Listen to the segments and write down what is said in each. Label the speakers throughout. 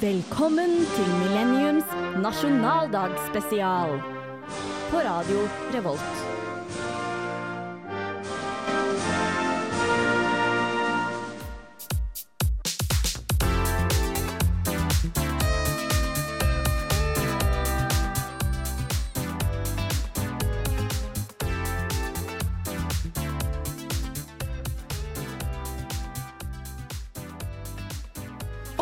Speaker 1: Velkommen til Millenniums nasjonaldagsspesial på Radio Revolt.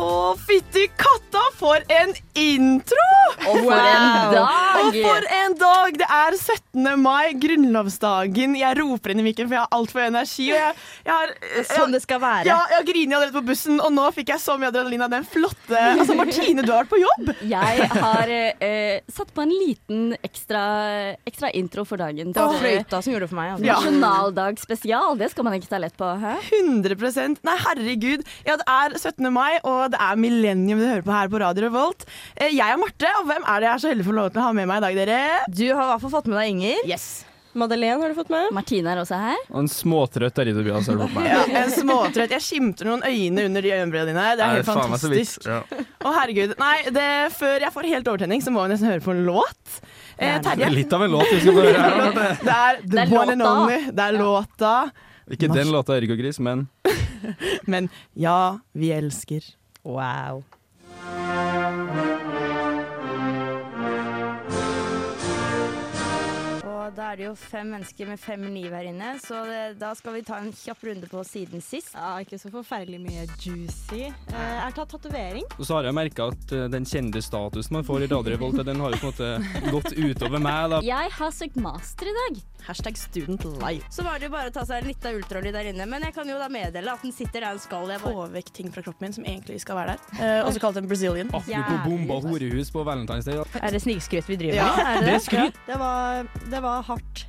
Speaker 2: Å, fytti katta, for en intro!
Speaker 1: Og for en
Speaker 2: Og
Speaker 1: dag!
Speaker 2: for en dag! Det er 17. mai, grunnlovsdagen. Jeg roper inn i mikken, for jeg har altfor energi. Og jeg, jeg har
Speaker 3: Som
Speaker 2: jeg,
Speaker 3: Sånn det skal være.
Speaker 2: ja, jeg har grinet allerede på bussen, og nå fikk jeg så mye adrenalin av den flotte Altså, Martine, du har vært på jobb!
Speaker 1: Jeg har eh, satt på en liten ekstra, ekstra intro for dagen.
Speaker 3: Det var
Speaker 1: For, eh,
Speaker 3: fløyta som gjorde det for meg. Altså.
Speaker 2: Ja.
Speaker 1: Nasjonaldagsspesial, det skal man ikke ta lett på. Hæ?
Speaker 2: 100 Nei, herregud. Ja, det er 17. mai, og det er millennium du hører på her på Radio Revolt. Eh, Jeg er Marte, og hvem er det jeg er så heldig å få lov til å ha med meg i dag, dere?
Speaker 3: Du har i hvert fall fått med deg Inger.
Speaker 2: Yes.
Speaker 3: Madeleine har du fått med.
Speaker 1: Martine er også her.
Speaker 4: Og en småtrøtt Terje Tobias har du fått meg.
Speaker 2: Ja, en småtrøtt. Jeg skimter noen øyne under de øyenbrynene dine. Det er helt
Speaker 4: faen meg så vidt.
Speaker 2: fantastisk. Å, herregud. Nei, det, før jeg får helt overtenning, så må vi nesten høre på en låt. Eh,
Speaker 4: Ja.
Speaker 2: Terje,
Speaker 4: Litt av en låt vi skal få høre her. nå, Marte.
Speaker 2: det er The
Speaker 1: Det er
Speaker 2: One and
Speaker 1: låta.
Speaker 2: Only. Det er låta.
Speaker 4: Ikke den låta Erik og Gris, men
Speaker 2: Men ja, vi elsker.
Speaker 3: Wow.
Speaker 5: Og da er det jo fem mennesker med fem liv her inne, så det, da skal vi ta en kjapp runde på siden sist.
Speaker 6: Ja, ikke så forferdelig mye juicy. Eh, jeg har tatt tatovering.
Speaker 4: Og så har jeg merka at eh, den kjendisstatusen man får i Radio Revolt, den har jo på en måte gått utover meg, da.
Speaker 1: Jeg har søkt master i dag.
Speaker 2: Hashtag student life.
Speaker 5: Så var det jo bare å ta seg en liten ultralyd der inne, men jeg kan jo da meddele at den sitter der den skal. Jeg bare,
Speaker 2: Få vekk ting fra kroppen min som egentlig skal være der. Eh, også kalt en brazilian.
Speaker 4: Apropos bomba horehus på Valentine's Day. Da.
Speaker 3: Er det snikskryt vi driver med?
Speaker 2: Ja.
Speaker 4: Det er skryt.
Speaker 6: Det var, det var hardt.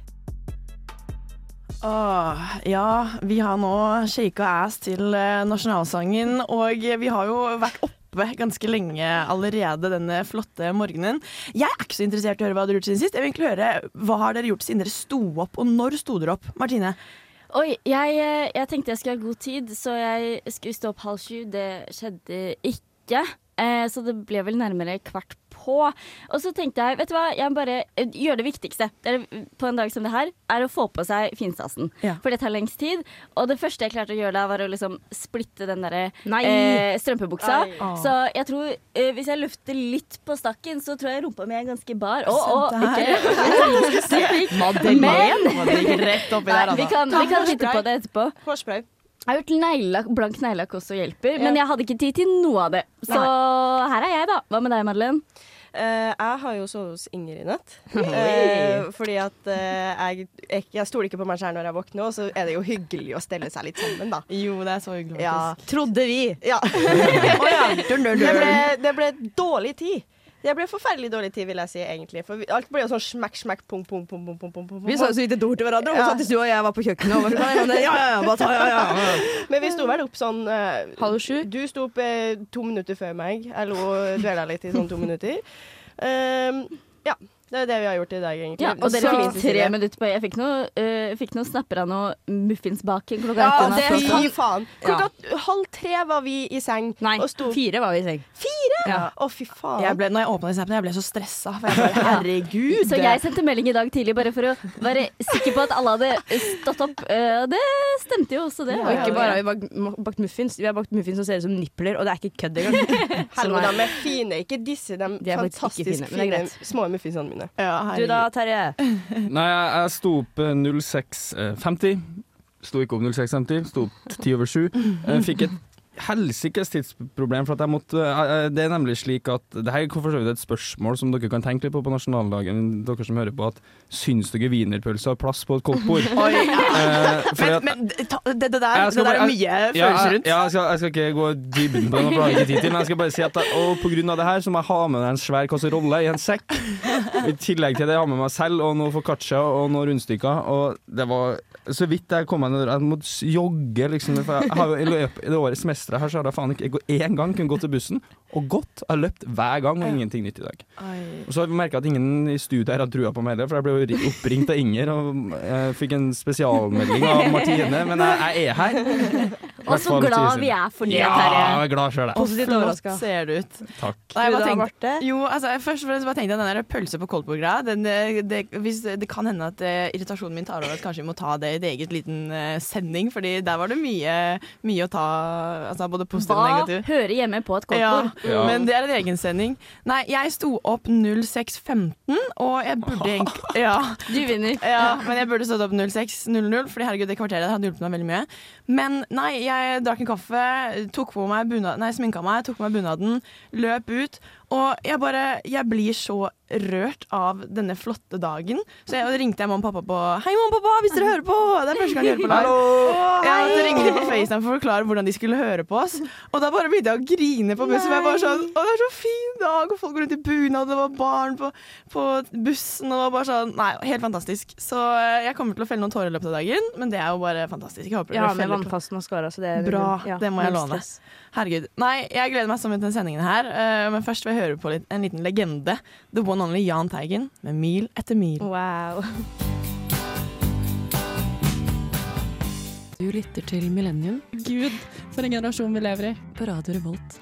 Speaker 2: Åh, ja, vi har nå shaka ass til eh, nasjonalsangen, og vi har jo vært oppe ganske lenge allerede denne flotte morgenen. Jeg er ikke så interessert i å høre hva dere har gjort siden sist. Jeg vil egentlig høre Hva har dere gjort siden dere sto opp, og når sto dere opp? Martine?
Speaker 1: Oi, jeg, eh, jeg tenkte jeg skulle ha god tid, så jeg skulle stå opp halv sju. Det skjedde ikke. Eh, så det ble vel nærmere kvart på. Og så tenkte jeg, vet du hva, jeg bare eh, gjør det viktigste det er, på en dag som det her, er å få på seg finstasen.
Speaker 2: Ja.
Speaker 1: For det tar lengst tid. Og det første jeg klarte å gjøre da, var å liksom splitte den derre
Speaker 5: Nei!
Speaker 1: eh, strømpebuksa.
Speaker 5: Ai.
Speaker 2: Åh.
Speaker 1: Så jeg tror, eh, hvis jeg lufter litt på stakken, så tror jeg rumpa mi er ganske bar. Å, å,
Speaker 2: Se der.
Speaker 1: ikke spikk. Men
Speaker 2: Det gikk rett oppi der,
Speaker 1: Nei, vi
Speaker 2: altså.
Speaker 1: kan, vi kan
Speaker 6: hårspray.
Speaker 1: vite på det etterpå.
Speaker 6: Hårspray.
Speaker 1: Jeg har gjort neglelakk, blank neglelakk også hjelper, men jeg hadde ikke tid til noe av det. Så her er jeg, da. Hva med deg, Madeleine?
Speaker 6: Eh, jeg har jo sovet hos Inger i natt. Eh, fordi at eh, jeg, jeg, jeg stoler ikke på meg sjøl når jeg våkner, og så er det jo hyggelig å stelle seg litt sammen, da.
Speaker 2: Jo, det er så hyggelig.
Speaker 6: Ja.
Speaker 2: faktisk.
Speaker 3: Trodde vi.
Speaker 6: ja.
Speaker 2: Å ja. Dun, dun,
Speaker 6: Det ble,
Speaker 2: dun.
Speaker 6: det ble dårlig tid. Det ble forferdelig dårlig tid, vil jeg si, egentlig. For vi- alt ble jo sånn smekk, smekk, pung, pung, pung, pung, pung, pung, pung,
Speaker 3: Vi sa jo så vidt et ord til hverandre. Hun
Speaker 6: Ja.
Speaker 3: satt i stua, og jeg var på kjøkkenet. Og var sånn, ja, ja, ja, ja, bare ta, ja, ja.
Speaker 6: Men vi sto vel opp sånn eh,
Speaker 3: Halv sju.
Speaker 6: Du sto opp eh, to minutter før meg. Jeg lå og dvela litt i sånn to minutter. Ehm, ja. Det er det vi har gjort i dag, egentlig.
Speaker 1: Ja, og dere
Speaker 6: Så-
Speaker 1: fikk tre minutter på Jeg fikk noe, eh, fikk noe snapper av noe muffinsbaking klokka
Speaker 6: Ja,
Speaker 1: ett.
Speaker 6: det
Speaker 1: om natta.
Speaker 6: fy faen. Klokka halv tre var vi i seng
Speaker 3: Nei,
Speaker 6: og sto
Speaker 3: fire var vi i seng.
Speaker 6: Fire? Å, fy faen.
Speaker 2: Jeg ble, når jeg åpna snappen, jeg ble så stressa. For jeg bare, herregud.
Speaker 1: Så jeg sendte melding i dag tidlig bare for å være sikker på at alle hadde stått opp. eh, Og det stemte jo også, det.
Speaker 3: Og ikke bare har vi bakt, bakt muffins, vi har bakt muffins som ser ut som nipler, og det er ikke kødd engang.
Speaker 6: Hello,
Speaker 3: Som er-
Speaker 6: de er fine. Ikke disse de,
Speaker 3: De er faktisk ikke
Speaker 6: fantastisk
Speaker 3: fine,
Speaker 6: fine,
Speaker 3: men det er greit.
Speaker 6: små muffinsene mine.
Speaker 2: Ja,
Speaker 3: Du
Speaker 2: herregud.
Speaker 3: da, Terje.
Speaker 4: Nei, jeg, jeg sto opp eh, 06.50. Sto ikke opp 06.50, sto opp ti over sju. Eh, Fikk et helsikes tidsproblem, for at jeg måtte eh, eh, Det er nemlig slik at Det her er for så vidt et spørsmål som dere kan tenke litt på på nasjonaldagen, dere som hører på, at syns dere wienerpølse har plass på et koldtbord?
Speaker 2: Oi, ja.
Speaker 4: Eh, fordi
Speaker 2: Men,
Speaker 4: at-
Speaker 2: men ta, det, det, der,
Speaker 4: Jeg
Speaker 2: det
Speaker 4: skal
Speaker 2: der er
Speaker 4: bare-
Speaker 2: mye
Speaker 4: ja,
Speaker 2: følelser
Speaker 4: jeg,
Speaker 2: rundt.
Speaker 4: ja, jeg, skal, jeg skal ikke gå i dybden på det, nå, for det har jeg ikke tid til. Men jeg skal bare si at jeg, og på grunn av det her så må jeg ha med meg en svær kasserolle i en sekk. I tillegg til det jeg har med meg selv og noe foccaccia og noen rundstykker. Og det var så vidt jeg kom meg ned Jeg måtte s- jogge, liksom. For jeg har jo i løpet i det året semesteret her så har jeg faen ikke jeg går én gang kunne gå til bussen. Og gått. Jeg har løpt hver gang, og ingenting nytt i dag.
Speaker 2: Oi.
Speaker 4: Og så har vi merka at ingen i studiet her har trua på meg heller, for jeg ble jo ri- oppringt eh, av Inger og jeg fikk en spesialmelding av Martine, men jeg, jeg er her.
Speaker 1: Og så glad vi er for det,
Speaker 4: Ja,
Speaker 1: Terje.
Speaker 4: jeg er glad sjøl, jeg.
Speaker 3: Positivt
Speaker 2: Flott
Speaker 3: overraska.
Speaker 2: ser det ut.
Speaker 4: Takk.
Speaker 2: Nei, jeg
Speaker 6: Du
Speaker 2: bare
Speaker 6: da,
Speaker 2: tenkte,
Speaker 6: Marte?
Speaker 2: jo, altså, jeg først og fremst bare tenkte jeg den der pølse på Kolpo-greia den, eh, det, hvis- det kan hende at eh, irritasjonen min tar over at kanskje vi må ta det i det eget liten eh, sending, fordi der var det mye, mye å ta altså, både positivt
Speaker 1: Hva
Speaker 2: og negativt.
Speaker 1: hører hjemme på et
Speaker 2: Ja,
Speaker 1: koldtbord?
Speaker 4: Ja.
Speaker 2: Men det er en egen sending. Nei, jeg sto opp 06.15, og jeg burde egentlig ja,
Speaker 1: Du vinner.
Speaker 2: ja, men jeg burde stått opp 06.00, Fordi herregud, det kvarteret hadde hjulpet meg veldig mye. Men nei, jeg drakk en kaffe, tok på meg bunad, nei, sminka meg, tok på meg bunaden, løp ut. Og jeg bare Jeg blir så rørt av denne flotte dagen. Så jeg, og da ringte jeg mamma og pappa på Hei, mamma og pappa, hvis dere hører på! Det er første gang jeg hører på live. Ja, så ringte de på FaceTime for å forklare hvordan de skulle høre på oss. Og da bare begynte jeg å grine på bussen. for Jeg bare sånn, å, det er så fin dag, og folk går rundt i bunad, og det var barn på, på bussen. Og det var bare sånn, nei, Helt fantastisk. Så eh, jeg kommer til å felle noen tårer i løpet av dagen, men det er jo bare fantastisk. Jeg håper
Speaker 3: Jeg
Speaker 2: dere
Speaker 3: har med
Speaker 2: feller
Speaker 3: vannfast mascara. Så det,
Speaker 2: Bra, det må jeg
Speaker 3: null
Speaker 2: låne.
Speaker 3: stress.
Speaker 2: Herregud. Nei, jeg gleder meg sånn til denne sendingen her. eh, Men først vil jeg høre på litt, en liten legende. The one only Jahn Teigen med Mil etter mil.
Speaker 3: Wow.
Speaker 7: Du lytter til Millennium. Gud, for en generasjon vi lever i. På Radio Revolt.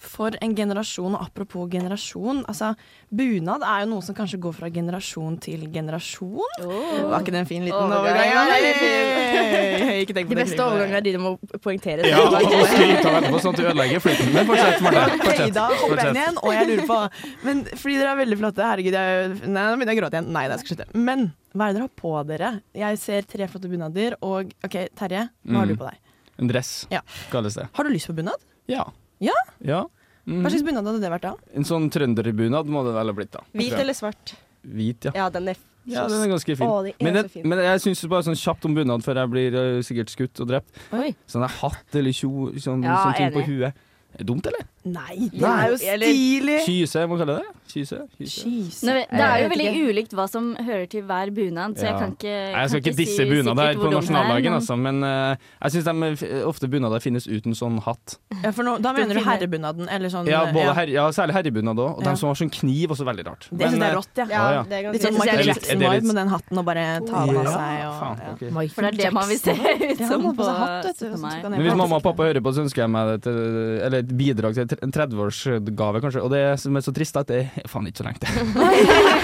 Speaker 2: For en generasjon, og apropos generasjon. Altså, bunad er jo noe som kanskje går fra generasjon til generasjon. Var ikke det en fin liten
Speaker 5: Overgang.
Speaker 2: overgang?
Speaker 5: Ja, det er litt
Speaker 2: Hey! Hey, ikke tenk på
Speaker 3: De
Speaker 2: det
Speaker 3: beste
Speaker 2: Trygve.
Speaker 3: overgangene er de du må poengtere.
Speaker 4: Ja, og skryt av etterpå, sånn at du ødelegger flyten min. Fortsett, Marte.
Speaker 2: Ok,
Speaker 4: Fortsett.
Speaker 2: da hopper jeg inn
Speaker 4: Fortsett.
Speaker 2: igjen, og jeg lurer på Men fordi dere er veldig flotte, herregud jeg, Nei, nå begynner jeg å gråte igjen. Nei, det skal jeg slutte. Men hva er det dere har på dere? Jeg ser tre flotte bunader, og OK, Terje, hva har du
Speaker 4: Mm.
Speaker 2: på deg?
Speaker 4: En dress,
Speaker 2: Ja.
Speaker 4: kalles det.
Speaker 2: Har du lyst på bunad?
Speaker 4: Ja.
Speaker 2: Ja?
Speaker 4: Ja. Mhm.
Speaker 2: Hva slags bunad hadde det vært da?
Speaker 4: En sånn trønderbunad må det vel ha blitt, da.
Speaker 6: Hvit eller svart?
Speaker 4: Hvit, ja.
Speaker 6: Ja, den er
Speaker 4: Ja, den er ganske fin.
Speaker 6: Å, de er
Speaker 4: Men,
Speaker 6: så
Speaker 4: det,
Speaker 6: fine.
Speaker 4: men jeg syns bare sånn kjapt om bunad før jeg blir eh, sikkert skutt og drept.
Speaker 1: Oi.
Speaker 4: Sånn der hatt eller kjo, sånn,
Speaker 1: Ja,
Speaker 4: sånn ting på
Speaker 1: enig.
Speaker 4: huet. Er det dumt, eller?
Speaker 2: Nei, det
Speaker 4: Nei.
Speaker 2: er jo
Speaker 3: Eller-
Speaker 2: stilig!
Speaker 4: Kyse, må man kalle det. Kyse. kyse.
Speaker 2: Kyse.
Speaker 1: Nå, det er jo
Speaker 2: Jeg vet
Speaker 1: veldig
Speaker 2: ikke.
Speaker 1: ulikt hva som hører til hver bunad, så jeg
Speaker 4: Ja.
Speaker 1: kan ikke
Speaker 4: Nei, Jeg
Speaker 1: kan
Speaker 4: skal ikke disse
Speaker 1: si sikkert
Speaker 4: bunader her på
Speaker 1: hvor dumt det er,
Speaker 4: nasjonaldagen,
Speaker 1: men-
Speaker 4: altså, men eh, jeg syns ofte bunader finnes uten sånn hatt.
Speaker 2: Ja, for nå, da mener du herrebunaden? Eller sånn,
Speaker 4: Ja, både herre- ja særlig herrebunad òg, og
Speaker 2: Ja.
Speaker 4: de som har sånn kniv, også veldig rart.
Speaker 2: Det syns jeg er sånn rått, ja.
Speaker 6: Ja,
Speaker 4: Ah, ja.
Speaker 6: det er
Speaker 2: Litt
Speaker 1: synes
Speaker 2: sånn
Speaker 6: ganske
Speaker 1: jeg er
Speaker 2: Michael
Speaker 1: litt-
Speaker 4: er det
Speaker 2: Jackson-vibe
Speaker 4: litt-
Speaker 2: med den hatten og bare ta den av
Speaker 4: Ja,
Speaker 2: seg. Og,
Speaker 4: faen,
Speaker 2: ja.
Speaker 4: ok.
Speaker 1: For det er det man vil se ut
Speaker 2: Ja,
Speaker 1: som
Speaker 2: man har på seg hatt, vet du,
Speaker 1: på
Speaker 2: sånn at
Speaker 1: meg.
Speaker 2: du kan-
Speaker 4: Men hvis mamma og pappa hører på, så ønsker jeg meg det til, eller et bidrag til tre- en 30-årsgave, kanskje. Og det som er så trist, er at det er faen ikke så lenge til.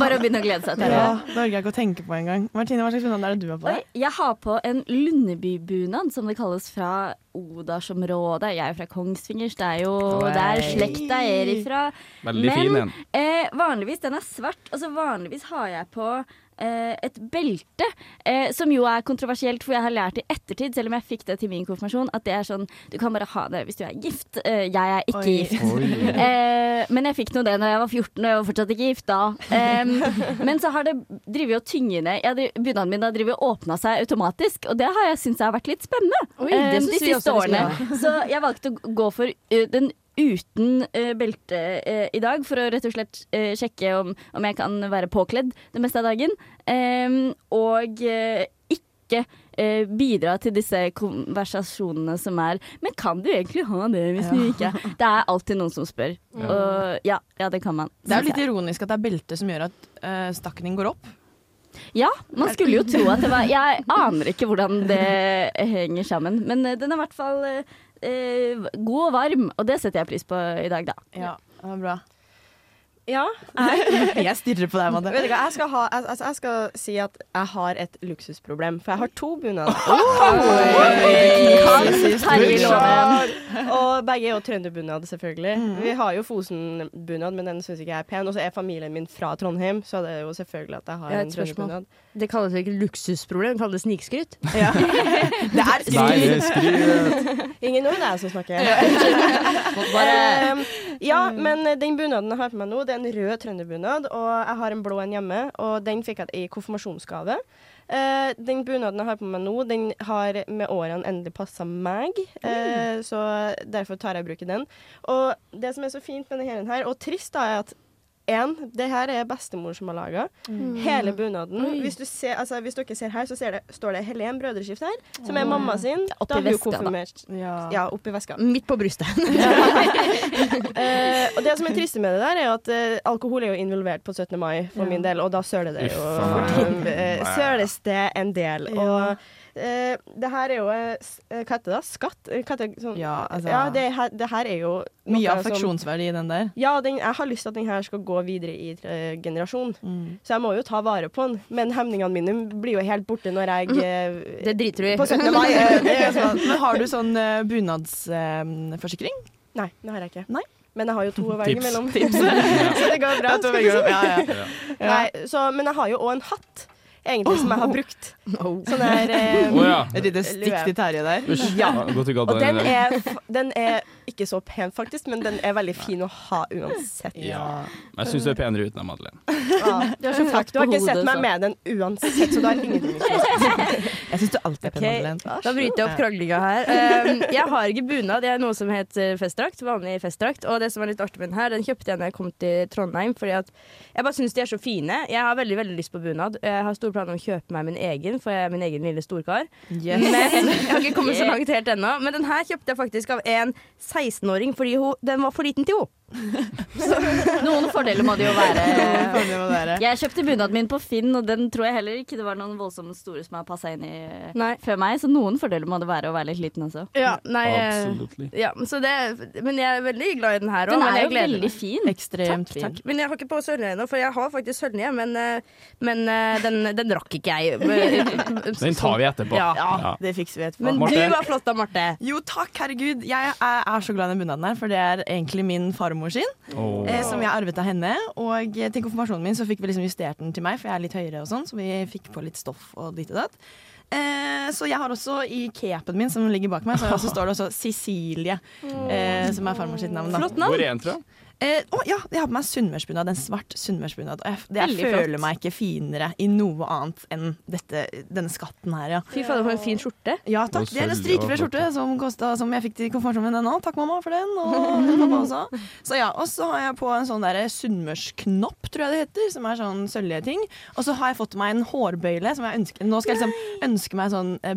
Speaker 1: Bare å begynne å glede seg til det.
Speaker 2: Ja, det orker jeg ikke å tenke på engang. Martine, hva slags bunad er det du har på
Speaker 1: Oi,
Speaker 2: deg?
Speaker 1: jeg har på en Lundebybunad, som det kalles fra Odalsområdet. Jeg er jo fra Kongsvinger, så det er jo der slekta er ifra.
Speaker 4: Veldig
Speaker 1: Men-
Speaker 4: fin en.
Speaker 1: Eh, vanligvis, den er svart. Altså vanligvis har jeg på eh, et belte, eh, som jo er kontroversielt, for jeg har lært i ettertid, selv om jeg fikk det til min konfirmasjon, at det er sånn Du kan bare ha det hvis du er gift. Eh, jeg er ikke
Speaker 2: Oi.
Speaker 1: gift.
Speaker 4: Oi.
Speaker 1: Eh, men jeg fikk nå det når jeg var 14, og jeg var fortsatt ikke gift da. Em, men så har det drevet og tynget ned. Jeg driv- Bunaden min har drevet og åpna seg automatisk, og det har jeg syntes har vært litt spennende
Speaker 3: Oi, det
Speaker 1: em,
Speaker 3: synes
Speaker 1: Ehm, de
Speaker 3: vi
Speaker 1: siste
Speaker 3: også vi
Speaker 1: årene.
Speaker 3: skulle
Speaker 1: Så jeg valgte å g- gå for eh, den uten eh, belte eh, i dag, for å rett og slett eh, sjekke om, om jeg kan være påkledd det meste av dagen. Em, og eh, ikke eh, bidra til disse konversasjonene som er Men kan du egentlig ha det hvis du ikke Det er alltid noen som spør. Og ja, ja det kan man.
Speaker 2: Det er jo litt ironisk at det er beltet som gjør at eh, stakken din går opp.
Speaker 1: Ja, man skulle jo tro at det var Jeg aner ikke hvordan det eh, henger sammen, men eh, den er i hvert fall eh, eh, god og varm, og det setter jeg pris på i dag, da.
Speaker 2: Ja, det var bra.
Speaker 6: Ja,
Speaker 2: Jeg stirrer på deg, Madde.
Speaker 6: Vet du hva, jeg skal, ha, jeg, altså, jeg skal si at jeg har et luksusproblem, for jeg har to bunader.
Speaker 1: Kan Terje love en?
Speaker 6: Og begge er jo trønderbunad, selvfølgelig. Vi har jo Fosen-bunad, men den syns ikke jeg er pen. Og så er familien min fra Trondheim, så det er jo selvfølgelig at jeg har
Speaker 3: Jeg har
Speaker 6: en
Speaker 3: et spørsmål.
Speaker 6: trønderbunad.
Speaker 3: Det kalles ikke luksusproblem, det kalles snikskryt.
Speaker 2: Det er
Speaker 4: Nei, det skriver
Speaker 6: Ingen nordmenn er det som snakker. Um, ja, men den bunaden jeg har på meg nå, det er en rød trønderbunad, og jeg har en blå en hjemme, og den fikk jeg i konfirmasjonsgave. Eh, den bunaden jeg har på meg nå, den har med årene endelig passa meg, eh, så derfor tar jeg i bruk i den. Og det som er så fint med denne her- her, og trist, da, er at en, det her er bestemor som har laga. Hele bunaden. Hvis, du ser, altså, hvis dere ser her, så ser det, står det Helen Brødreskift her, som er mamma sin.
Speaker 1: oppi
Speaker 6: Da har hun
Speaker 1: veska, da.
Speaker 6: konfirmert.
Speaker 2: Ja.
Speaker 6: Ja, oppi veska.
Speaker 3: Midt på brystet.
Speaker 6: Eh, og det som er triste med det der, er at eh, alkohol er jo involvert på 17. mai for min del, og da søler det jo.
Speaker 4: Uff, faen.
Speaker 6: Eh, søles det en del. Og eh, det her er jo eh, s- eh, Hva heter det? da? Skatt? Eh, Hva heter det? Sånn,
Speaker 2: Ja, altså,
Speaker 6: ja, det, her, det her er jo noe
Speaker 2: mye
Speaker 6: som-
Speaker 2: affeksjonsverdi i den der.
Speaker 6: Ja, den, jeg har lyst til at den her skal gå videre i eh, generasjon,
Speaker 2: Mm.
Speaker 6: så jeg må jo ta vare på den. Men hemningene mine blir jo helt borte når jeg eh,
Speaker 3: Det driter du i.
Speaker 6: På 17. mai. eh,
Speaker 2: Det er sånn. Men har du sånn eh, bunadsforsikring?
Speaker 6: Nei, det har jeg ikke.
Speaker 2: Nei.
Speaker 6: Men jeg har jo to å velge
Speaker 4: Tips.
Speaker 6: mellom. så det går bra. skal du si.
Speaker 2: ja, ja.
Speaker 6: Nei, så, men jeg har jo òg en hatt, egentlig, som jeg har brukt. Sånn
Speaker 4: Å
Speaker 6: der eh,
Speaker 4: ja.
Speaker 2: Oh. Et lite stikk til Terje der.
Speaker 4: Usch. Godt du ga
Speaker 6: Og
Speaker 4: på
Speaker 6: eh, den
Speaker 4: den. i dag.
Speaker 6: er, f- den er ikke så pen, faktisk, men den er veldig fin å ha uansett.
Speaker 4: Ja. Jeg syns du er penere uten deg, Madeleine.
Speaker 6: Ja.
Speaker 1: Du har så
Speaker 6: Takk,
Speaker 1: flott
Speaker 6: du har
Speaker 1: på
Speaker 6: ikke
Speaker 1: hodet.
Speaker 6: sett meg
Speaker 1: så.
Speaker 6: med den uansett, så du har ingenting å si.
Speaker 2: Jeg syns du alltid er pen,
Speaker 3: Ok,
Speaker 2: Madeleine.
Speaker 3: Da bryter jeg opp kranglinga her. Um, jeg har ikke bunad, jeg er noe som heter festdrakt. Vanlig festdrakt. Og det som er litt artig med den her, den kjøpte jeg da jeg kom til Trondheim. Fordi at jeg bare syns de er så fine. Jeg har veldig veldig lyst på bunad. Jeg har store planer om å kjøpe meg min egen, for jeg er min egen lille storkar.
Speaker 2: Yes.
Speaker 3: Men jeg har ikke kommet så langt helt ennå. Men den her kjøpte jeg faktisk av en 16-åring fordi hun, den var for liten til henne.
Speaker 1: Noen fordeler må det jo være.
Speaker 2: Føler jeg med dere.
Speaker 1: Jeg kjøpte bunaden min på Finn, og den tror jeg heller ikke det var noen voldsomt store som har passa inn i eh,
Speaker 3: Nei.
Speaker 1: før meg, så noen fordeler må det være å være litt liten også.
Speaker 3: Ja, nei, eh,
Speaker 4: Absolutely.
Speaker 3: ja, så det, men jeg er veldig glad i den her òg.
Speaker 1: Den
Speaker 3: men
Speaker 1: er
Speaker 3: jeg
Speaker 1: jo
Speaker 3: gleder meg.
Speaker 1: veldig fin.
Speaker 2: Ekstremt fin.
Speaker 3: Takk. Men jeg har ikke på sølje ennå, for jeg har faktisk sølje, men, eh, men eh, den, den rakk ikke jeg.
Speaker 4: Den tar vi etterpå.
Speaker 3: Ja.
Speaker 4: Ja.
Speaker 2: Det fikser vi etterpå.
Speaker 3: Men
Speaker 4: Marte?
Speaker 3: du var flott da, Marte.
Speaker 2: jo takk, herregud. Jeg er, er så glad i den bunaden her, for det er egentlig min farmor sin.
Speaker 4: Åh.
Speaker 2: Eh, som jeg arvet av henne. Og eh, til konfirmasjonen min så fikk vi liksom justert den til meg, for jeg er litt høyere og sånn, så vi fikk på litt stoff og ditt og datt. Eh, så jeg har også i capen min, som ligger bak meg, så, så står det også Cecilie. Eh, som er farmor sitt navn. Da.
Speaker 3: Flott
Speaker 4: Hvor
Speaker 3: navn.
Speaker 4: er den fra?
Speaker 2: Eh, å, ja, jeg har på meg sunnmørsbunad. En svart sunnmørsbunad. Og jeg, det, jeg
Speaker 1: Veldig flott.
Speaker 2: føler meg ikke finere i noe annet enn dette, denne skatten her, ja.
Speaker 3: Fy fader, for en fin skjorte.
Speaker 2: Ja takk. Det er en strikefri skjorte som, kostet, som jeg fikk til konfirmasjonen min ennå. Takk, mamma, for den. Og pappa også. Så ja, og så har jeg på en sånn derre sunnmørsknopp, tror jeg det heter, som er sånn sølje ting. Og så har jeg fått meg en hårbøyle som jeg ønsker Nå skal jeg liksom ønske meg sånn eh,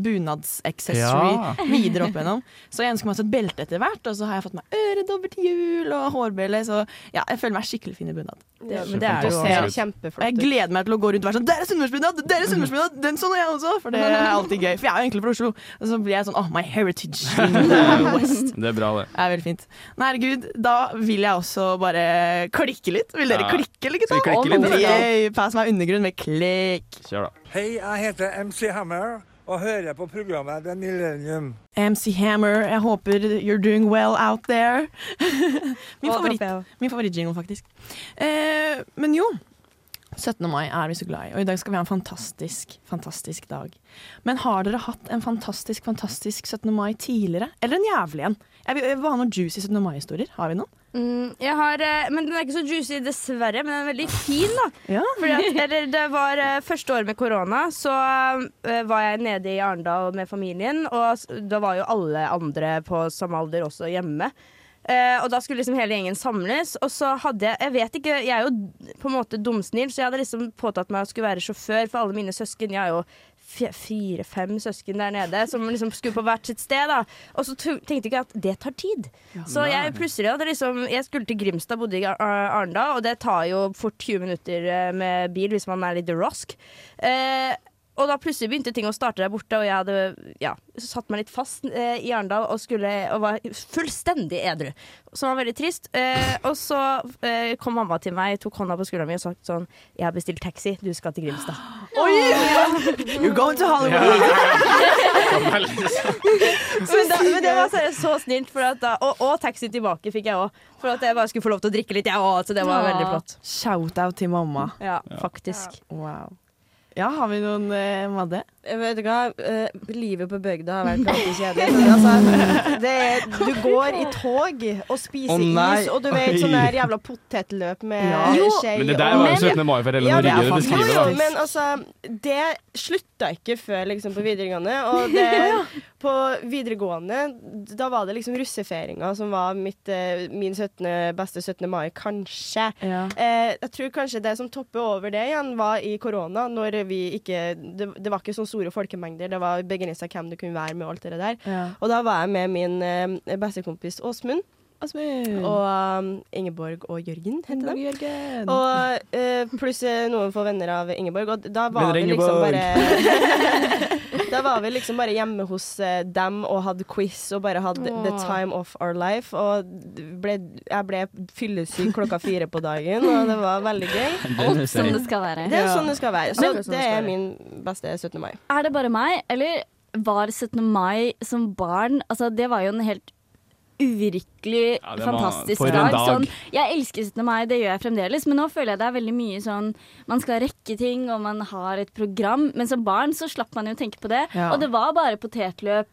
Speaker 2: bunadsaccessory
Speaker 4: Ja.
Speaker 2: videre opp igjennom. Så jeg ønsker meg også et belte etter hvert, og så har jeg fått meg øredobber til jul og hårbøyle, så ja, jeg føler meg skikkelig fin i bunad.
Speaker 3: Det, men det er jo
Speaker 4: Kjempe- Ja.
Speaker 6: Du ser
Speaker 2: Og jeg
Speaker 6: kjempeflott ut.
Speaker 2: gleder meg til å gå rundt og være sånn Der er sunnmørsbunad! Der er sunnmørsbunad! Den så jeg også! For det er alltid gøy. For jeg er jo egentlig fra Oslo. Og så blir jeg sånn Oh, my heritage in the West.
Speaker 4: Det er bra, det.
Speaker 2: Det er veldig fint. Nei, herregud, da vil jeg også bare klikke litt. Vil dere
Speaker 4: Ja.
Speaker 2: klikke, eller
Speaker 4: Skal vi
Speaker 2: gutta?
Speaker 4: klikke litt, eller?
Speaker 2: Yay, pass meg undergrunn med klikk.
Speaker 4: Kjør, da.
Speaker 8: Hei, jeg heter MC Hammer og hører på programmet The Millennium.
Speaker 2: MC Hammer, jeg håper you're doing well out there. Min
Speaker 3: Å,
Speaker 2: favoritt.
Speaker 3: det håper jeg også.
Speaker 2: Min favorittjingle, faktisk. Eh, men jo. 17. mai er vi så glad i, og i dag skal vi ha en fantastisk, fantastisk dag. Men har dere hatt en fantastisk, fantastisk 17. mai tidligere? Eller en jævlig en? Jeg vil jeg vil ha noen juicy 17. mai-historier. Har vi noen?
Speaker 3: Mm, jeg har, eh, men den er ikke så juicy, dessverre, men den er veldig fin, da.
Speaker 2: Ja.
Speaker 3: Fordi at, eller, det var eh, første året med korona, så eh, var jeg nede i Arendal med familien. Og s- da var jo alle andre på samme alder også hjemme. Eh, og da skulle liksom hele gjengen samles. Og så hadde jeg Jeg vet ikke, jeg er jo d- på en måte dumsnill, så jeg hadde liksom påtatt meg å skulle være sjåfør for alle mine søsken. Jeg har jo fire-fem søsken der nede som liksom skulle på hvert sitt sted. da Og så tro- tenkte ikke jeg at det tar tid. Så jeg plutselig hadde liksom Jeg skulle til Grimstad, bodde i Ar- Ar- Arendal, og det tar jo fort 20 minutter eh, med bil hvis man er litt rosk. Eh, og da plutselig begynte ting å starte der borte, og jeg hadde ja, satt meg litt fast eh, i Arendal og, skulle- og var fullstendig edru. Som var veldig trist. Eh, og så eh, kom mamma til meg, tok hånda på skuldra mi og sa sånn Jeg har bestilt taxi, du skal til Grimstad.
Speaker 2: You're going to Hollywood!
Speaker 3: Men, da, men det var seriøst så snilt, for at da, og, og taxi tilbake fikk jeg òg. For at jeg bare skulle få lov til å drikke litt, jeg òg. Så det var
Speaker 1: Ja.
Speaker 3: veldig flott.
Speaker 2: Shout-out til mamma.
Speaker 3: Ja, faktisk.
Speaker 2: Wow. Ja, har vi noen, eh, Madde?
Speaker 6: Jeg Vet du hva, eh, livet på bygda har vært ganske kjedelig. Altså, det er, du går i tog og spiser
Speaker 4: Å, nei.
Speaker 6: is, og du vet sånn der jævla potetløp med
Speaker 2: Ja.
Speaker 1: Jo,
Speaker 6: skje
Speaker 4: Men det der var jo 17. mai for hele
Speaker 6: Ja, det
Speaker 4: Norge.
Speaker 2: er
Speaker 4: Det
Speaker 2: fantastisk.
Speaker 6: Jo,
Speaker 4: beskriver
Speaker 6: jo,
Speaker 4: da.
Speaker 6: men altså Det slutta ikke før liksom, på videregående. Og det, på videregående, da var det liksom russefeiringa som var mitt, eh, min 17. beste 17. mai, kanskje.
Speaker 2: Ja.
Speaker 6: Eh, jeg tror kanskje det som topper over det igjen, var i korona, når vi ikke Det, det var ikke så store folkemengder, det var begrensa hvem du kunne være med, og alt det der. Og da var jeg med min eh, bestekompis Åsmund.
Speaker 2: Mm.
Speaker 7: Asmund.
Speaker 6: Og um, Ingeborg og Jørgen, heter de.
Speaker 7: Ingeborg Jørgen.
Speaker 6: Og eh, pluss eh, noen få venner av Ingeborg. Og da var
Speaker 4: Venner
Speaker 6: vi liksom
Speaker 4: Ingeborg.
Speaker 6: bare Da var vi liksom bare hjemme hos eh, dem og hadde quiz og bare hadde the time of our life. Og ble, jeg ble fyllesyk klokka fire på dagen, og det var veldig gøy.
Speaker 1: Alt som det skal være.
Speaker 6: Det er jo sånn det skal være. Så
Speaker 3: Akkurat sånn det
Speaker 6: det
Speaker 3: skal
Speaker 6: er
Speaker 3: være.
Speaker 6: min beste 17. mai.
Speaker 1: Er det bare meg, eller var 17. mai som barn Altså, det var jo en helt uvirkelig
Speaker 4: Ja, det var-
Speaker 1: fantastisk
Speaker 4: for en
Speaker 1: dag.
Speaker 4: dag.
Speaker 1: Sånn, jeg elsker 17. mai, det gjør jeg fremdeles, men nå føler jeg det er veldig mye sånn Man skal rekke ting, og man har et program, men som barn så slapp man jo å tenke på det.
Speaker 2: Ja.
Speaker 1: Og det var bare potetløp.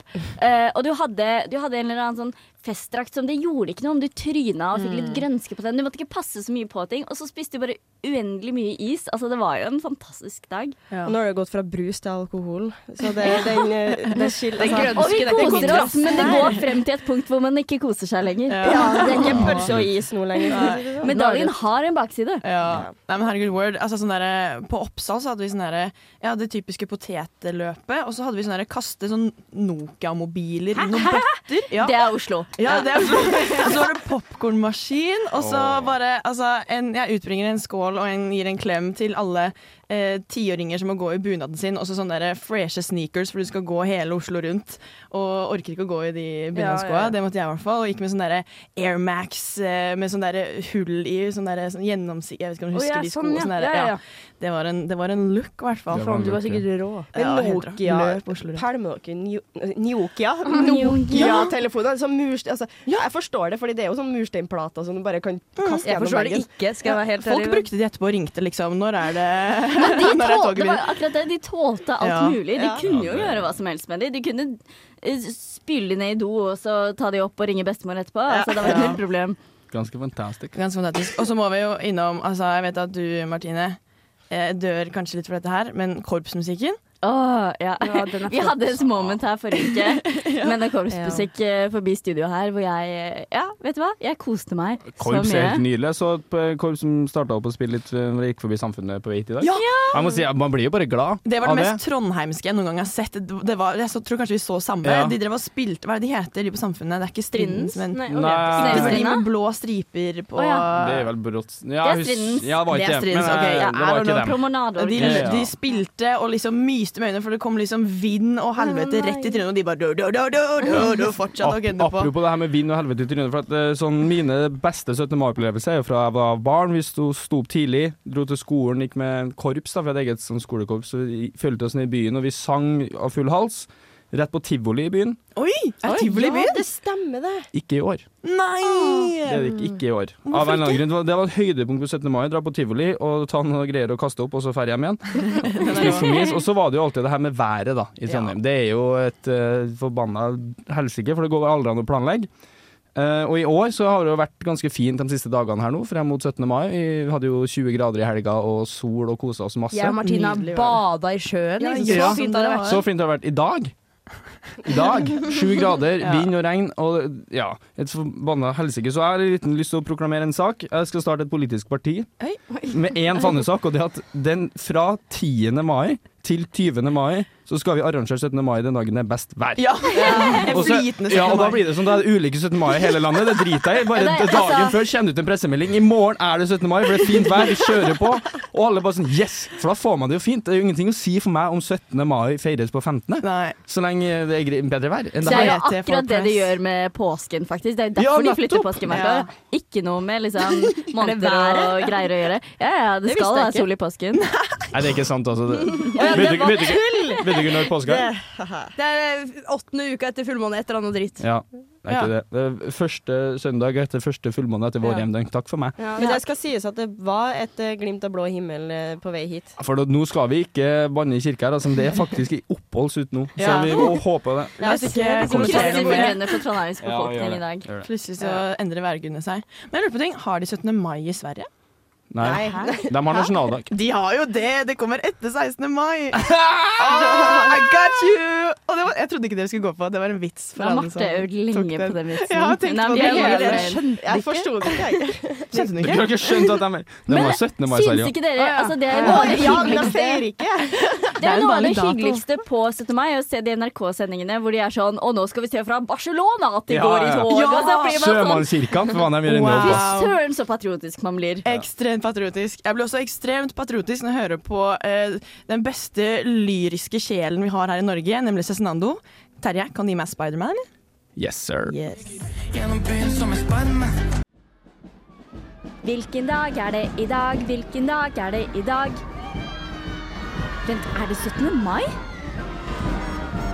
Speaker 1: eh, og du hadde, du hadde en eller annen sånn festdrakt som det gjorde ikke noe om du tryna og fikk litt grønske på den. Du måtte ikke passe så mye på ting. Og så spiste du bare uendelig mye is. Altså, det var jo en fantastisk dag.
Speaker 2: Ja.
Speaker 6: Og nå har det gått fra brus til alkohol, så det, den, eh, det skiller altså,
Speaker 3: grønne-
Speaker 1: Og vi
Speaker 3: Ønsker deg ikke
Speaker 1: koser oss, men det går frem til et punkt hvor man ikke koser seg lenger.
Speaker 6: Ja, det er ikke pølse og is nå lenger. for å si det sånn.
Speaker 1: Medaljen har en bakside.
Speaker 2: Ja. Nei, men herregud, word. Altså, sånn derre- på Oppsal så hadde vi sånn derre- ja, det typiske potetløpet, og så hadde vi sånn derre kaste sånn Nokia-mobiler i noen bøtter. Ja.
Speaker 1: Det er Oslo.
Speaker 2: Ja, det er, og så var det popkornmaskin, og så bare altså, en, Jeg utbringer en skål og en, gir en klem til alle eh, tiåringer som må gå i bunaden sin, og så sånne der freshe sneakers, for du skal gå hele Oslo rundt. Og orker ikke å gå i de bunadsskoa. Det måtte jeg i hvert fall. Og gikk med sånn derre Air Max eh, med sånn derre hull i, sånn derre sånn gjennomsiktig Jeg vet ikke om du
Speaker 3: Å,
Speaker 2: husker
Speaker 3: ja,
Speaker 2: de
Speaker 3: sånn,
Speaker 2: skoene.
Speaker 3: ja.
Speaker 2: Sånn derre-
Speaker 3: Ja, ja, ja.
Speaker 2: ja. det, var en, det var en look, i hvert fall.
Speaker 4: Det var en
Speaker 3: Du var
Speaker 4: look, ja.
Speaker 3: sikkert rå.
Speaker 2: Ja,
Speaker 6: Men
Speaker 2: helt rå.
Speaker 6: Nokia
Speaker 2: Løp Oslo rundt.
Speaker 6: Pælmer dere Nio- eh, Nokia?
Speaker 1: Nokia.
Speaker 6: Nokia-telefoner? Sånn murste- altså, ja, Mm, jeg forstår det, Fordi det er jo sånn mursteinplater som du bare kan kaste
Speaker 3: Jeg
Speaker 6: gjennom
Speaker 3: forstår det
Speaker 6: veggen.
Speaker 3: ikke, skal jeg være helt
Speaker 2: Folk
Speaker 3: ærlig.
Speaker 2: brukte de etterpå og ringte, liksom. Når er det
Speaker 1: De
Speaker 2: Når er
Speaker 1: tålte,
Speaker 2: toget
Speaker 1: det var
Speaker 2: mitt?
Speaker 1: jo akkurat det. De tålte alt
Speaker 2: Ja.
Speaker 1: mulig. De
Speaker 6: Ja.
Speaker 1: kunne
Speaker 4: Ja,
Speaker 1: jo
Speaker 4: det-
Speaker 1: gjøre hva som helst med dem. De kunne eh, spyle ned i do, og så ta de opp og ringe bestemor etterpå. Altså, det var ikke
Speaker 2: Ja.
Speaker 1: noe problem.
Speaker 4: Ganske fantastisk.
Speaker 2: Ganske fantastisk. Og så må vi jo innom altså, Jeg vet at du, Martine, eh, dør kanskje litt for dette her, men korpsmusikken
Speaker 1: Åh, ja.
Speaker 3: Ja, den er
Speaker 1: Vi
Speaker 3: flott.
Speaker 1: hadde et moment her forrige uke med noe korpsmusikk eh, forbi studio her, hvor jeg eh, Ja, vet du hva? Jeg koste meg så
Speaker 4: Korps er helt
Speaker 1: mye.
Speaker 4: nydelig. Jeg så et eh, korps som starta opp å spille litt eh, når jeg gikk forbi Samfunnet på vei hit i dag.
Speaker 2: Ja!
Speaker 4: Jeg må si, ja, Man blir jo bare glad
Speaker 2: Det var det
Speaker 4: av
Speaker 2: mest trondheimske jeg noen gang har sett. Det var, jeg så, tror kanskje vi så samme.
Speaker 4: Ja.
Speaker 2: De drev og spilte Hva er det de heter, de på Samfunnet? Det er ikke Strindens, men
Speaker 1: Nei,
Speaker 4: Nei.
Speaker 2: det var de
Speaker 1: Snøstrina?
Speaker 2: med blå striper på
Speaker 1: Å,
Speaker 4: Det er vel brått
Speaker 1: Det
Speaker 4: ja,
Speaker 1: er Strindens.
Speaker 4: Ja, det var
Speaker 2: Det er
Speaker 4: ikke
Speaker 2: Strindens,
Speaker 4: Men,
Speaker 2: ok.
Speaker 4: eh,
Speaker 2: Ja,
Speaker 4: det var ikke dem.
Speaker 1: Promenade.
Speaker 2: de,
Speaker 4: Ja, ja.
Speaker 2: de spilte og liksom myste med øynene, for det kom liksom vind og helvete rett i trynet. Og de bare du, du, du, du, du, du, fortsatte å gønne
Speaker 4: Ap-
Speaker 2: på.
Speaker 4: Apropos det her med vind og helvete i trynet. For at, eh, sånn, mine beste 17. mai-opplevelser er jo fra jeg var barn. Vi sto, sto opp tidlig, dro til skolen, gikk med korps. da, Vi hadde eget sånn, skolekorps. Så vi fulgte oss ned i byen, og vi sang av full hals. Rett på tivoli i byen.
Speaker 2: Oi! Er tivoli i
Speaker 6: Ja,
Speaker 2: byen?
Speaker 6: det stemmer, det.
Speaker 4: Ikke i år. Det er
Speaker 2: Nei!
Speaker 4: det ikke, ikke i år. Av en eller annen grunn. Det var et høydepunkt på 17. mai. Dra på tivoli og ta noen greier å kaste opp, og så ferdig hjem igjen. Spise for mye is. Og så var det jo alltid det her med været da, i Trondheim. Det er jo et uh, forbanna helsike, for det går aldri an å planlegge. Eh, og i år så har det jo vært ganske fint de siste dagene her nå, frem mot 17. mai. Vi hadde jo 20 grader i helga og sol og kosa oss masse.
Speaker 3: Jeg og Martina
Speaker 2: Nydelig var
Speaker 3: bada i sjøen.
Speaker 2: Ja,
Speaker 3: liksom.
Speaker 2: ja.
Speaker 3: så fint har det vært.
Speaker 4: Så fint det har vært i dag. I dag. Sju grader, vind og regn og ja, et forbanna helsike. Så jeg har litt lyst til å proklamere en sak. Jeg skal starte et politisk parti
Speaker 2: Oi.
Speaker 4: med én fannesak, og det er at den fra 10. mai til 20. mai så skal vi arrangere 17. mai den dagen det er best vær.
Speaker 2: Ja!
Speaker 4: Og så-
Speaker 2: Flytende
Speaker 4: ja, og
Speaker 2: 17.
Speaker 4: da
Speaker 2: mai.
Speaker 4: blir det sånn, da er det ulike 17. mai i hele landet. Det driter jeg i. Bare
Speaker 1: Ja, det er-
Speaker 4: dagen
Speaker 1: altså-
Speaker 4: før kommer det ut en pressemelding. I morgen er det 17. mai, for det er fint vær, vi kjører på. Og alle bare sånn yes! For da får man det jo fint. Det er jo ingenting å si for meg om 17. mai feires på 15.
Speaker 2: Nei.
Speaker 4: Så lenge det er gre- bedre vær enn
Speaker 1: Det
Speaker 4: det
Speaker 1: er
Speaker 4: her.
Speaker 1: jo
Speaker 2: Kvalitet for
Speaker 1: akkurat det de
Speaker 2: press.
Speaker 1: gjør med påsken, faktisk. Det er jo
Speaker 4: Ja,
Speaker 1: derfor de flytter
Speaker 4: nettopp.
Speaker 1: påsken hvert år. Ikke noe med liksom måneder og greier å gjøre. Ja, ja, det,
Speaker 3: Det visste
Speaker 1: skal
Speaker 3: jeg
Speaker 1: være
Speaker 3: ikke.
Speaker 1: sol i påsken.
Speaker 4: Nei, det er ikke sant, altså. Det, vet, du, vet, du, ikke- vet du ikke når påske er?
Speaker 3: Det er eh, åttende uka etter fullmåne, et eller annet dritt.
Speaker 4: Ja, det er ikke det. det. er Første søndag etter første fullmåne etter vår
Speaker 3: Ja.
Speaker 4: hjemdag. Takk for meg.
Speaker 6: Men det skal sies at det var et eh, glimt av blå himmel eh, på vei hit.
Speaker 4: For da- nå skal vi ikke banne i kirka her, altså. men Det er faktisk i oppholdsut nå, så
Speaker 2: Ja.
Speaker 4: vi må håpe det.
Speaker 2: La oss ikke kommentere
Speaker 1: Krysser
Speaker 2: noe mer.
Speaker 1: fingrene for Trondheims befolkning i dag.
Speaker 4: Gjør det.
Speaker 2: Plutselig så endrer værgudene seg. Men jeg lurer på ting, Har de 17. mai i Sverige?
Speaker 4: Nei. De har nasjonaldag.
Speaker 2: De har jo det! Det kommer etter 16. mai. Ah, I got you! Og det var, jeg trodde ikke dere skulle gå på. Det var en vits. for
Speaker 1: Da
Speaker 2: alle
Speaker 1: Marte
Speaker 2: som
Speaker 1: øvd lenge
Speaker 2: liksom tok
Speaker 1: på den vitsen.
Speaker 2: Ja, jeg tenkte
Speaker 1: Nei,
Speaker 2: på
Speaker 1: men
Speaker 2: det.
Speaker 1: jeg gjør
Speaker 2: Jeg
Speaker 1: det.
Speaker 6: Jeg forsto det ikke, jeg.
Speaker 2: Skjønte du
Speaker 4: Dere har
Speaker 2: ikke?
Speaker 4: ikke skjønt at de er De har 17. mai i
Speaker 1: Syns
Speaker 4: Sverige.
Speaker 1: ikke dere
Speaker 2: ja.
Speaker 1: altså, det er
Speaker 2: Ja,
Speaker 1: vår
Speaker 6: Ja, men jeg
Speaker 1: hyggeligste
Speaker 6: feirer ikke.
Speaker 1: Det er
Speaker 2: jo
Speaker 1: noe
Speaker 2: bare
Speaker 1: av det
Speaker 2: litt dato.
Speaker 1: hyggeligste på 17. mai, å se de NRK-sendingene hvor de er sånn Å, nå skal vi se fra Barcelona at de
Speaker 4: Ja,
Speaker 1: går i
Speaker 4: ja.
Speaker 1: tog!
Speaker 2: Ja.
Speaker 1: Og så blir man sånn
Speaker 4: Sjømannskirkene, for faen, de gjør en jobb,
Speaker 2: Wow.
Speaker 4: ass.
Speaker 1: Søren, så patriotisk man blir.
Speaker 2: Ekstremt patriotisk. Jeg blir også ekstremt patriotisk når jeg hører på eh, den beste lyriske sjelen vi har her i Norge, nemlig Cezinando. Terje, kan du gi meg Spiderman, eller?
Speaker 4: Yes, sir.
Speaker 1: Hvilken dag er det i dag? Hvilken dag er det i dag? Vent, er det 17. mai?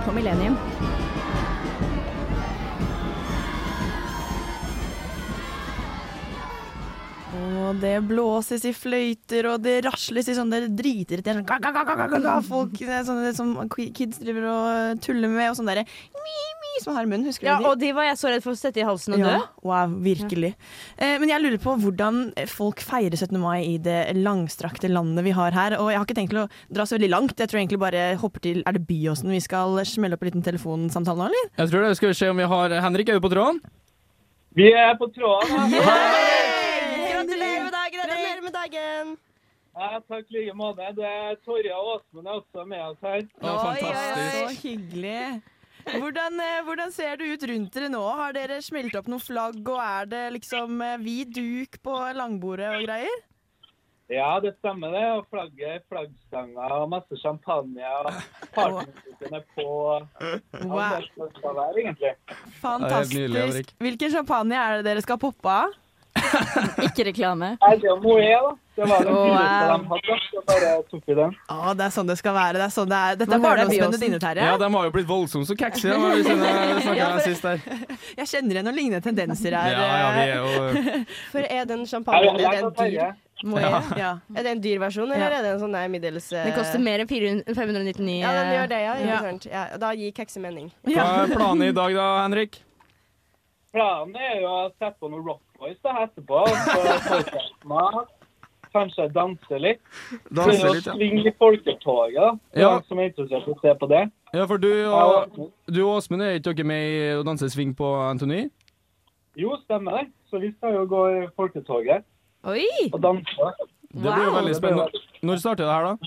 Speaker 1: På Millennium.
Speaker 2: Og det blåses i fløyter, og det rasles i sånne dritirriterende sånn, ga, ga, ga, ga, ga, ga, ga, Folk eh, sånne som kids driver og tuller med, og sånn derre mi, mi, som har i munnen. Husker
Speaker 3: Ja,
Speaker 2: du de?
Speaker 3: og de var jeg så redd for å sette i halsen og dø.
Speaker 2: Ja, wow, virkelig. Eh, men jeg lurer på hvordan folk feirer 17. mai i det langstrakte landet vi har her. Og jeg har ikke tenkt til å dra så veldig langt. Jeg tror egentlig bare hopper til Er det Byåsen vi skal smelle opp en liten telefonsamtale nå, eller?
Speaker 4: Jeg tror det. Skal vi se om vi har Henrik er jo på tråden.
Speaker 9: Vi er på tråden. da.
Speaker 6: Gratulerer med dagen! Gratulerer med dagen!
Speaker 9: Ja, takk i like måte. Det er Torje og Åsmund er også med oss her.
Speaker 4: Å, fantastisk.
Speaker 2: Så hyggelig. Hvordan, eh, hvordan ser det ut rundt dere nå? Har dere smelt opp noen flagg, og er det liksom eh, hvit duk på langbordet og greier?
Speaker 9: Ja, det stemmer det. Og flagget, flaggstanger og masse champagne. Og partymusikken er på.
Speaker 2: Wow,
Speaker 9: Alt det skal være, egentlig.
Speaker 4: Det er helt nydelig, Henrik.
Speaker 2: fantastisk. Hvilken champagne er det dere skal poppe av?
Speaker 1: Ikke reklame.
Speaker 9: Nei, det er Moët, da. Det var den
Speaker 2: Wow.
Speaker 9: dyreste de hadde. Så bare tok vi den.
Speaker 2: Ja, det er sånn det skal være. Det er sånn det er. Dette er
Speaker 3: hører jeg
Speaker 2: barndomsmennene dine, Terje.
Speaker 4: Ja, de har jo blitt voldsomt så kaxy, de, hvis jeg snakket med dem sist der.
Speaker 2: Jeg kjenner igjen noen lignende tendenser
Speaker 4: Ja,
Speaker 2: her. eh,
Speaker 4: ja, vi er jo
Speaker 6: For er den
Speaker 9: Her
Speaker 6: champagnen
Speaker 9: er
Speaker 6: er det
Speaker 9: jeg
Speaker 6: en
Speaker 9: og
Speaker 6: dyr,
Speaker 9: Terje.
Speaker 2: Må jeg? Ja.
Speaker 6: er det en dyr versjon, eller er det en sånn der middels eh,
Speaker 3: Det koster mer enn eh, 400 599
Speaker 6: Ja, den gjør det, ja.
Speaker 2: Ja.
Speaker 6: Ikke sant? ja. Da gir kekse mening.
Speaker 4: Hva er planen i dag, da, Henrik?
Speaker 9: Planen er jo å sette på noen Rock Boys da etterpå. og Så fortsette mat. Kanskje danse litt. Prøve
Speaker 4: Danse
Speaker 9: å
Speaker 4: litt, ja.
Speaker 9: svinge i folketoget, da. For
Speaker 4: Ja.
Speaker 9: ja. som er interessert i å se på det.
Speaker 4: ja for du
Speaker 9: Og-
Speaker 4: og, du og Åsmund, er ikke dere med i å danse sving på Antony?
Speaker 9: Jo, stemmer det. Så vi skal jo gå i folketoget
Speaker 3: Oi!
Speaker 9: og danse.
Speaker 4: Det blir jo
Speaker 3: Wow.
Speaker 4: veldig spennende. Når starter det her, da?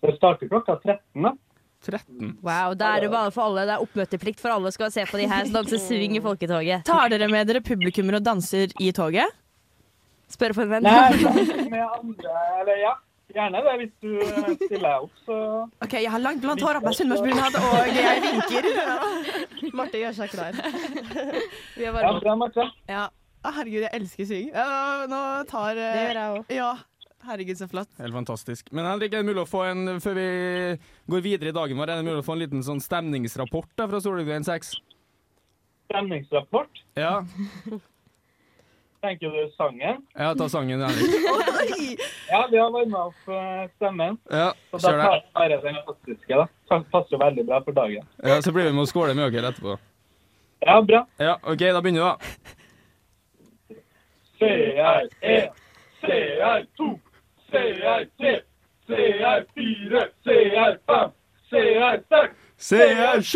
Speaker 9: Det starter klokka 13, da.
Speaker 4: 13.
Speaker 3: Wow, da er det bare for alle. Det er oppmøteplikt for alle skal se på de her som danser swing i folketoget.
Speaker 2: Tar dere med dere publikummer og danser i toget?
Speaker 3: Spør for en venn.
Speaker 9: Nei, med andre Eller ja, gjerne det hvis du eh, stiller deg opp, så
Speaker 2: Ok, Jeg har langt blant hår opp meg sunnmørsbunad, og jeg vinker.
Speaker 6: Marte gjør seg klar.
Speaker 3: Vi er
Speaker 9: Ja,
Speaker 3: bare
Speaker 9: bra, Marte.
Speaker 2: Ja. Å, herregud, jeg elsker syng. Ja, nå- nå tar eh,
Speaker 6: Det gjør jeg òg.
Speaker 2: Ja. Herregud, så flott.
Speaker 4: Helt fantastisk. Men Henrik, er det mulig å få en før vi går videre i dagen vår, er det mulig å få en liten sånn stemningsrapport da, fra Solgren 6?
Speaker 9: Stemningsrapport.
Speaker 4: Ja,
Speaker 9: Tenker du sangen?
Speaker 4: jeg tar sangen, Henrik.
Speaker 9: Ja, vi har varma opp eh, stemmen.
Speaker 4: Ja,
Speaker 9: Så da
Speaker 4: kjør det.
Speaker 9: tar tar jeg den klassiske, da. Pa- Passer jo veldig bra for dagen.
Speaker 4: Ja, så blir vi med og skåle med dere etterpå.
Speaker 9: Ja, bra.
Speaker 4: Ja, OK, da begynner vi, da.
Speaker 9: CR1, CR2, CR3, CR4, CR5, CR6.
Speaker 4: CR7!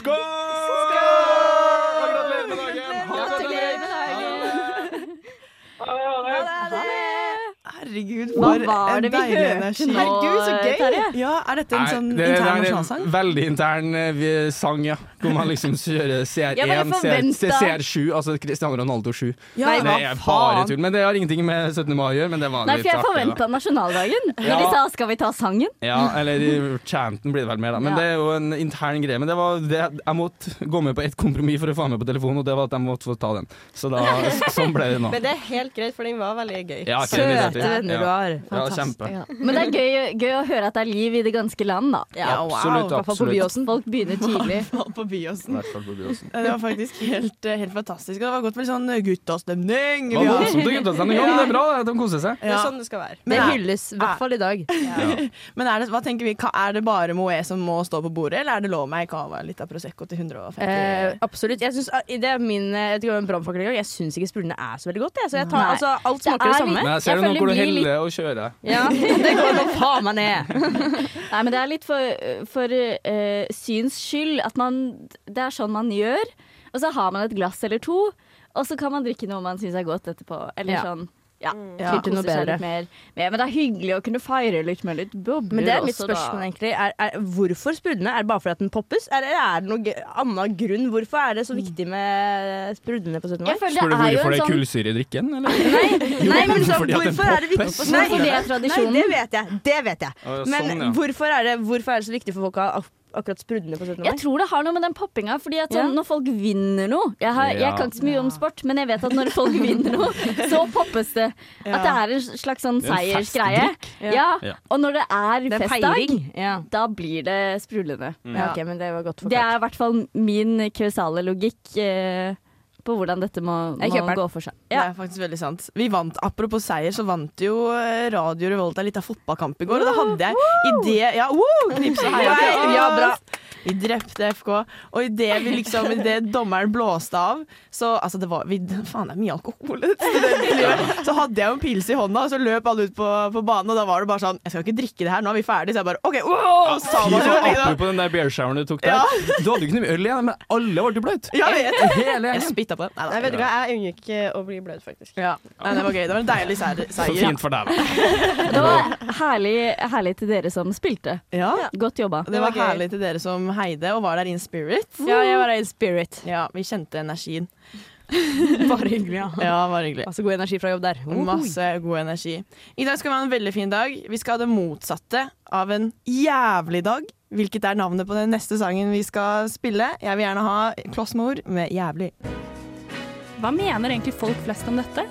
Speaker 4: Skål! Og Gratulerer med dagen! Ha det, Henrik!
Speaker 9: Ha det, ha det.
Speaker 2: Herregud,
Speaker 1: Hva
Speaker 2: for
Speaker 1: var
Speaker 2: en
Speaker 1: det vi
Speaker 2: deilig
Speaker 1: hørte
Speaker 2: energi.
Speaker 1: nå, Terje?
Speaker 2: Ja, Er dette en sånn
Speaker 4: det,
Speaker 2: intern
Speaker 4: det er en
Speaker 2: nasjonalsang?
Speaker 4: veldig intern eh, vi- sang, ja. Hvor man liksom kjører
Speaker 1: Ja, men
Speaker 4: CR1,
Speaker 1: jeg
Speaker 4: CR,
Speaker 1: forventet-
Speaker 4: CR7, altså Cristiano Ronaldo 7.
Speaker 2: Ja,
Speaker 4: det er bare tull. Men det har ingenting med 17. mai å gjøre. Men det var
Speaker 1: Nei,
Speaker 4: litt
Speaker 1: for jeg
Speaker 4: artig,
Speaker 1: forventa
Speaker 4: da.
Speaker 1: nasjonaldagen. Når
Speaker 4: Ja.
Speaker 1: de sa 'skal vi ta sangen'?
Speaker 4: Ja, eller i chanten blir det vel mer, da. Men
Speaker 1: Ja.
Speaker 4: det er jo en intern greie. Men det var det, jeg måtte gå med på ett kompromiss for å få meg på telefonen, og det var at jeg måtte få ta den. Så da, sånn ble det nå.
Speaker 6: Men det er helt greit, for den var veldig gøy.
Speaker 4: Ja, ikke det litt
Speaker 3: søte
Speaker 4: artig?
Speaker 3: venner du
Speaker 4: ja.
Speaker 3: har.
Speaker 4: Ja, kjempe.
Speaker 1: Men det er gøy, gøy å høre at det er liv i det ganske land, da.
Speaker 2: Ja, wow.
Speaker 4: Absolutt,
Speaker 2: I hvert
Speaker 3: På
Speaker 4: absolutt.
Speaker 3: Byåsen.
Speaker 1: Folk begynner tidlig.
Speaker 2: På Byåsen.
Speaker 4: I hvert fall på Byåsen.
Speaker 2: Ja, Det var faktisk helt, eh, helt fantastisk. Og det var godt med litt sånn guttastemning.
Speaker 4: Det var voldsomt til guttastemning. Ja, men det er bra, det. de koser seg.
Speaker 6: Det er
Speaker 2: Ja.
Speaker 6: sånn det skal være.
Speaker 3: Det
Speaker 2: Men,
Speaker 3: hylles, i hvert fall i dag.
Speaker 2: men er det, hva tenker vi, Ka- er det bare Moët som må stå på bordet, eller er det lov meg cava litt av Prosecco til 150?
Speaker 3: Eh, absolutt. Jeg synes, det er min eh, jeg vet ikke om det er en brannfakkel engang. Jeg syns ikke sprudlene er så veldig godt. Jeg. Så jeg tar,
Speaker 1: Nei.
Speaker 3: altså, alt smaker det,
Speaker 1: Det er
Speaker 3: samme.
Speaker 4: Men jeg ser
Speaker 1: Jeg
Speaker 4: jo nå
Speaker 1: føler
Speaker 4: hvor
Speaker 1: vi
Speaker 4: du
Speaker 1: litt-
Speaker 4: heller og kjører.
Speaker 3: Ja, Det går nå faen meg ned.
Speaker 1: Nei, men det er litt for, for eh, syns skyld at man Det er sånn man gjør. Og så har man et glass eller to, og så kan man drikke noe man syns er godt etterpå. Eller
Speaker 3: Ja.
Speaker 1: sånn. Ja,
Speaker 2: Ja.
Speaker 1: til noe bedre. Mer. med. Men det er hyggelig å kunne feire litt med litt bobler
Speaker 3: Men det er mitt
Speaker 1: også, da.
Speaker 3: spørsmål, egentlig. Er, er, hvorfor sprudlene? Er det bare fordi at den poppes, eller er det noen annen grunn? Hvorfor er det så viktig med sprudlene på 17. mai?
Speaker 1: Jeg føler
Speaker 4: Spør du
Speaker 1: det er jo en
Speaker 4: hvorfor det er
Speaker 1: sånn
Speaker 4: kullsyre i drikken, eller?
Speaker 3: Nei, men sånn,
Speaker 4: fordi at den
Speaker 3: hvorfor er det viktig
Speaker 4: poppes.
Speaker 3: for
Speaker 1: Hvorfor det er
Speaker 3: Nei,
Speaker 1: tradisjonen?
Speaker 3: det vet jeg. Det vet jeg.
Speaker 4: Å, ja,
Speaker 3: Men
Speaker 4: sånn, ja.
Speaker 3: hvorfor, er det, hvorfor er det så viktig for folk å ha ak- akkurat sprudlene på 17. mai?
Speaker 1: Jeg tror det har noe med den poppinga. Fordi at sånn, Når folk vinner noe jeg, har, jeg
Speaker 4: Ja.
Speaker 1: kan ikke så mye om sport, men jeg vet at når folk vinner noe, så poppes det. At det er en slags sånn
Speaker 4: Det er en
Speaker 1: seiersgreie. Ja.
Speaker 4: Ja.
Speaker 1: Og når det er
Speaker 3: det er
Speaker 1: festdag,
Speaker 3: feiring. Ja.
Speaker 1: da blir det sprudlende.
Speaker 4: Mm.
Speaker 3: ja, ok, men det var godt
Speaker 1: Det
Speaker 3: forklart.
Speaker 1: er i hvert fall min kausale logikk eh, på hvordan dette må,
Speaker 3: Jeg
Speaker 1: må
Speaker 3: kjøper den.
Speaker 1: gå for seg.
Speaker 2: Det er faktisk veldig sant. Vi vant, Apropos seier, så vant jo eh, Radio Revolt en liten fotballkamp i går. Og da hadde jeg i det Ja, woo! Knips og heia til
Speaker 3: Nei, ja, bra.
Speaker 2: Vi drepte FK. Og idet vi liksom i det dommeren blåste av, så Altså, det var vi, Faen, det er mye alkohol i dette studentlivet. Så hadde jeg jo en pils i hånda, og så løp alle ut på, på banen, og da var det bare sånn Jeg skal ikke drikke det her, nå er vi ferdig. Så jeg bare OK, wow! Sa
Speaker 4: Fy
Speaker 2: man jo
Speaker 4: faen,
Speaker 2: liksom.
Speaker 4: apropos den der bearshoweren du tok der.
Speaker 2: Ja.
Speaker 4: Du hadde jo ikke noe øl igjen, men alle ble bløte.
Speaker 2: Ja, jeg vet
Speaker 4: Hele
Speaker 2: Jeg
Speaker 4: gjengen.
Speaker 2: spytta på den.
Speaker 6: Nei,
Speaker 2: Nei da.
Speaker 6: vet du hva, jeg unngikk eh, å bli bløt, faktisk.
Speaker 2: Ja. Nei, det var gøy. Det var en deilig seier.
Speaker 4: Så
Speaker 2: seier.
Speaker 4: fint for deg, da.
Speaker 1: Det var herlig, herlig til dere som spilte. Ah,
Speaker 2: Ja.
Speaker 1: Godt jobba.
Speaker 2: Det var herlig til dere som heide og var der in spirit.
Speaker 3: Ja, jeg var i spirit.
Speaker 2: Ja, vi kjente energien.
Speaker 3: Bare hyggelig, ja.
Speaker 2: Ja, det var hyggelig.
Speaker 3: Masse god energi fra jobb der.
Speaker 2: Masse god energi. I dag skal vi ha en veldig fin dag. Vi skal ha det motsatte av en jævlig dag, hvilket er navnet på den neste sangen vi skal spille. Jeg vil gjerne ha Klossmor med 'Jævlig'.
Speaker 7: Hva mener egentlig folk flest om dette?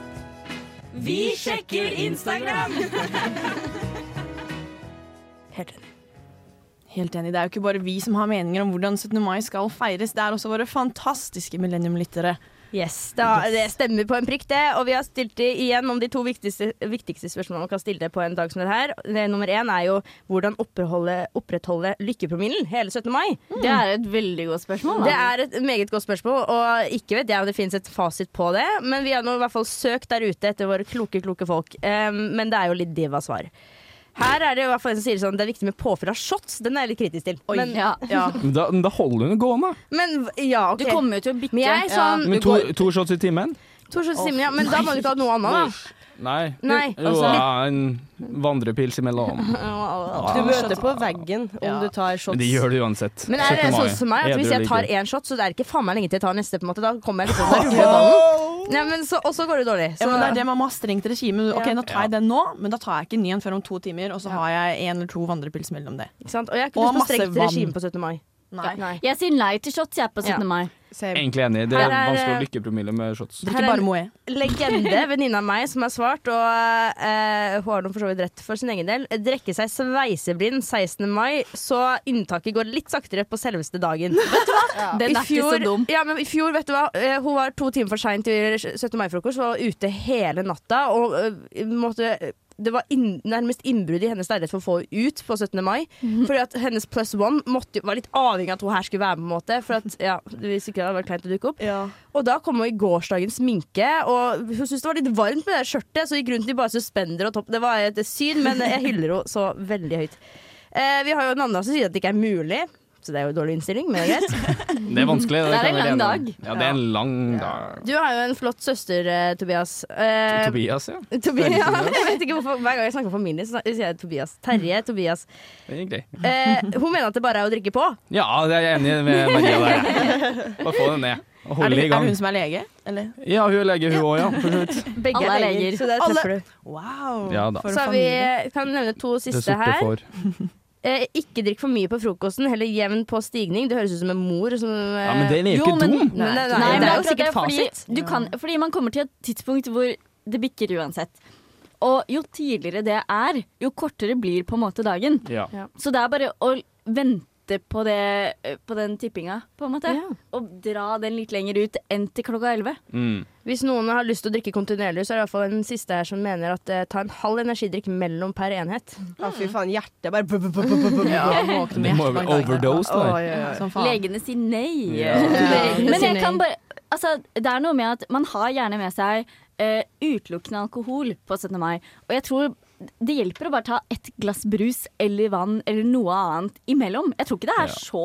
Speaker 2: Helt enig. Det er jo ikke bare vi som har meninger om hvordan 17. mai skal feires, det er også våre fantastiske millennium-lyttere.
Speaker 3: Yes, da, Det stemmer på en prikk, det. Og vi har stilt det igjen om de to viktigste, viktigste spørsmålene man kan stille på en dag som dette. her. Det, nummer én er jo hvordan opprettholde, opprettholde lykkepromillen hele 17. mai.
Speaker 1: Det er et veldig godt spørsmål.
Speaker 3: Det
Speaker 1: Da.
Speaker 3: er et meget godt spørsmål, og ikke vet jeg om det finnes et fasit på det. Men vi har nå i hvert fall søkt der ute etter våre kloke, kloke folk. Ehm, men det er jo litt diva-svar. Her er det i hvert fall en som sier sånn, det er viktig med påfyll av shots. Den er jeg litt kritisk til. men,
Speaker 1: ja.
Speaker 4: Men da, men da holder hun det gående.
Speaker 3: men ja, OK.
Speaker 1: Du kommer jo til å bytte.
Speaker 3: men jeg er sånn
Speaker 4: Men to, to shots i timen?
Speaker 3: to shots i timen, ja, Men da må du ikke ha noe annet, da.
Speaker 4: Nei.
Speaker 3: Nei,
Speaker 4: Jo,
Speaker 3: altså-
Speaker 4: ja, en vandrepils imellom.
Speaker 6: Du møter på veggen om du tar
Speaker 4: Men
Speaker 6: shots.
Speaker 4: de gjør det uansett.
Speaker 3: Men er det
Speaker 4: 17. mai.
Speaker 3: sånn som meg at
Speaker 4: Edru
Speaker 3: hvis jeg
Speaker 4: eller
Speaker 3: tar
Speaker 4: ikke.
Speaker 3: én shot, så det er ikke faen meg lenge til jeg tar neste, på en måte. Da kommer jeg liksom ikke på den rullebanen. Nei, men så, og så går det dårlig. Så,
Speaker 2: Ja, men det er det man må ha strengt regime. Ok, nå tar jeg den nå, men da tar jeg ikke en ny en før om to timer, og så har jeg en eller to vandrepils mellom det.
Speaker 3: ikke sant? Og jeg har ikke
Speaker 2: Og
Speaker 3: lyst på
Speaker 2: masse
Speaker 3: strengt
Speaker 2: vann.
Speaker 3: regime på 17. mai.
Speaker 2: Nei.
Speaker 1: Jeg sier nei til shots jeg er på 17.
Speaker 3: Ja.
Speaker 1: mai.
Speaker 4: Egentlig enig. Det
Speaker 3: Her
Speaker 4: er
Speaker 3: er-
Speaker 4: vanskelig å lykke promille med shots.
Speaker 3: Her
Speaker 2: Drikker
Speaker 3: er-
Speaker 2: bare Moët.
Speaker 3: Legende, venninne av meg, som har svart, og eh, hun har noe for så vidt rett for sin egen del, drikke seg sveiseblind 16. mai, så inntaket går litt saktere på selveste dagen.
Speaker 1: Den
Speaker 3: I
Speaker 1: er ikke så
Speaker 3: fjor-
Speaker 1: dum.
Speaker 3: Ja, men I fjor, vet du hva, eh, hun var to timer for sein til 17. mai-frokost. Var ute hele natta og eh, måtte det var inn, nærmest innbrudd i hennes leilighet for å få henne ut på 17. mai.
Speaker 1: Mhm.
Speaker 3: Fordi at hennes plus one måtte, jo- var litt avhengig av at hun her skulle være med. på en måte For at, ja, Hvis ikke det hadde vært kleint å dukke opp. Og da kom hun i gårsdagens sminke, og hun syntes det var litt varmt med det skjørtet, så gikk rundt i bare suspender og topp. Det var et syn, men jeg hyller henne så veldig høyt. Eh, vi har jo en annen som sier at det ikke er mulig, så det er jo en dårlig innstilling, men det er greit.
Speaker 4: Det er vanskelig.
Speaker 1: Det er
Speaker 4: kan
Speaker 1: en
Speaker 4: jeg være
Speaker 1: lang
Speaker 4: enig i. Ja, det er en lang dag.
Speaker 3: Du har jo en flott søster, eh, Tobias. Eh,
Speaker 4: Tobias, ja.
Speaker 3: Tobias. Jeg vet ikke hvorfor Hver gang jeg snakker om familie, så sier jeg Tobias. Terje Tobias.
Speaker 4: Egentlig.
Speaker 3: Eh, hun mener at det bare er å drikke på.
Speaker 4: Ja, det er jeg enig med Maria der. Bare få det ned. Og
Speaker 2: Er
Speaker 4: holde
Speaker 2: det,
Speaker 4: i
Speaker 2: er det
Speaker 4: gang.
Speaker 2: hun som er lege? Eller?
Speaker 4: Ja, hun er lege, hun òg, ja. For så vidt.
Speaker 3: Begge
Speaker 1: Alle er leger.
Speaker 3: Så der
Speaker 2: Alle-
Speaker 3: treffer du.
Speaker 2: Wow!
Speaker 4: Ja da.
Speaker 2: For
Speaker 3: Så har vi,
Speaker 2: familie.
Speaker 3: kan nevne to
Speaker 4: Det
Speaker 3: siste
Speaker 4: sorte
Speaker 3: her.
Speaker 4: får.
Speaker 3: Eh, ikke drikk for mye på frokosten, heller jevn på stigning. Det høres ut som en mor som eh,
Speaker 4: Ja, men den er
Speaker 1: Jo,
Speaker 4: ikke
Speaker 1: men-
Speaker 4: dum.
Speaker 3: Nei, nei,
Speaker 1: Nei,
Speaker 3: det
Speaker 1: men
Speaker 3: er jo
Speaker 1: akkurat
Speaker 3: sikkert
Speaker 1: fordi,
Speaker 3: fasit.
Speaker 1: Du kan, fordi man kommer til et tidspunkt hvor det bikker uansett. Og jo tidligere det er, jo kortere blir på en måte dagen.
Speaker 4: Ja.
Speaker 1: Så det er bare å vente på, det, på den tippinga, på en måte. Og dra den litt lenger ut enn til klokka elleve.
Speaker 4: Mm.
Speaker 3: Hvis noen har lyst til å drikke kontinuerlig, så er det i hvert fall en siste her som mener at eh, ta en halv energidrikk mellom per enhet.
Speaker 6: Å, Ah, fy faen, hjertet bare bu- bu- bu- bu- bu- bu- bu-
Speaker 2: Ja, våkne med
Speaker 4: Det må jo være
Speaker 2: hjertebank.
Speaker 4: overdose,
Speaker 6: Å,
Speaker 4: da.
Speaker 6: ja, ja.
Speaker 2: Som faen.
Speaker 1: Legene sier nei.
Speaker 4: Ja.
Speaker 3: Legene
Speaker 1: Men
Speaker 3: sier
Speaker 1: jeg
Speaker 3: nei.
Speaker 1: kan bare Altså, det er noe med at man har gjerne med seg eh, utelukkende alkohol på 17. mai. Og jeg tror det hjelper å bare ta ett glass brus eller vann eller noe annet imellom. Jeg tror ikke det er så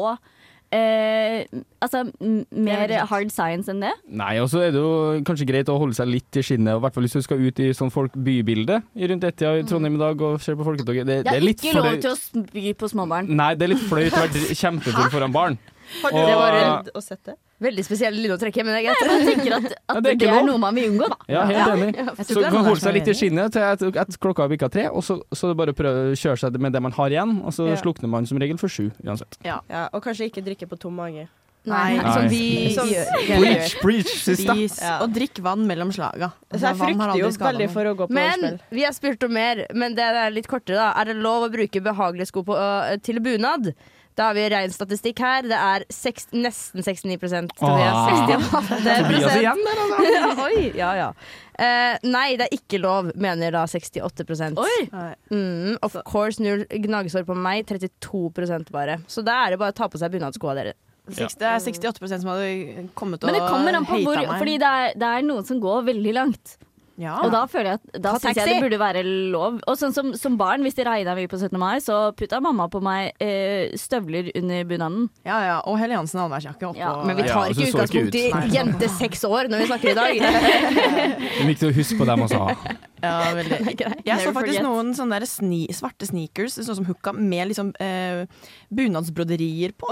Speaker 1: eh, altså, m- mer hard science enn det?
Speaker 4: Nei, og så er det jo kanskje greit å holde seg litt i skinnet, og i hvert fall hvis du skal ut i sånn folk bybilde i rundt ett-tida i Trondheim i dag og se på Folketoget. Det,
Speaker 1: Det er,
Speaker 4: det er litt Mm.
Speaker 1: ikke lov
Speaker 4: flaut-
Speaker 1: til å spy på småbarn.
Speaker 4: Nei, det er litt flaut å være dr- kjempefull foran barn.
Speaker 6: Har
Speaker 4: Og-
Speaker 6: dere prøvd å sett det?
Speaker 3: Veldig spesiell linje å trekke, men det er greit.
Speaker 1: Jeg tenker at, at
Speaker 4: Ja,
Speaker 1: det,
Speaker 4: det er ikke
Speaker 1: er
Speaker 4: lov.
Speaker 1: noe man vil unngå, da.
Speaker 4: Ja, helt enig.
Speaker 7: Jeg tror ikke
Speaker 4: Så
Speaker 7: det er
Speaker 4: kan
Speaker 7: noen
Speaker 2: sånn
Speaker 4: holde
Speaker 7: der som
Speaker 4: seg
Speaker 7: er
Speaker 4: litt i
Speaker 7: enig.
Speaker 4: skinnet til at, at klokka har bikka tre, og så, så er det bare å prøve å kjøre seg med det man har igjen, og så
Speaker 6: Ja.
Speaker 4: slukner man som regel for sju uansett.
Speaker 6: Ja, og kanskje ikke drikke på tom mage. Sånn
Speaker 3: Nei,
Speaker 2: Nei.
Speaker 3: som
Speaker 4: Nei.
Speaker 3: vi
Speaker 6: Som-
Speaker 3: gjør.
Speaker 4: Preach, preach, siste.
Speaker 2: Spis
Speaker 6: Ja.
Speaker 2: og drikk vann mellom slaga.
Speaker 6: Så jeg frykter jo veldig for å gå på
Speaker 3: Men
Speaker 6: nachspiel.
Speaker 3: vi har spurt om mer, men det er litt kortere, da. Er det lov å bruke behagelige sko på, øh, til bunad? Da har vi ren statistikk her. Det er seks, nesten 69
Speaker 4: Ah.
Speaker 3: Tobias. 68
Speaker 4: Tobias igjen der, altså.
Speaker 3: Oi, ja, ja. Eh, nei, det er ikke lov, mener da 68
Speaker 1: Oi!
Speaker 3: Mm, Of course, null gnagsår på meg. 32 bare. Så da er det bare å ta på seg bunadskoa, dere.
Speaker 2: Det er 68 som hadde kommet og
Speaker 1: Men det kommer an på
Speaker 2: hatet
Speaker 1: hvor
Speaker 2: meg.
Speaker 1: Fordi det er, det er noen som går veldig langt.
Speaker 2: ja.
Speaker 1: Og da føler jeg at Da
Speaker 3: Ta
Speaker 1: syns jeg
Speaker 3: taxi.
Speaker 1: det burde være lov. Og sånn som, som barn, hvis det regna mye på 17. mai, så putta mamma på meg eh, støvler under bunaden.
Speaker 2: ja, ja. Og Helle Jansen allværsjakke oppå.
Speaker 1: Ja,
Speaker 3: Men vi
Speaker 4: Ja,
Speaker 3: tar ikke
Speaker 4: altså, det så ikke
Speaker 3: utgangspunkt i
Speaker 4: ut.
Speaker 2: Nei.
Speaker 3: jente seks år når vi snakker i dag.
Speaker 4: Viktig å huske på dem også.
Speaker 2: Ja, veldig. Jeg så
Speaker 1: Never
Speaker 2: faktisk
Speaker 1: forget.
Speaker 2: noen sånne der sni, svarte sneakers sånn som hooka, med liksom, eh, bunadsbroderier på,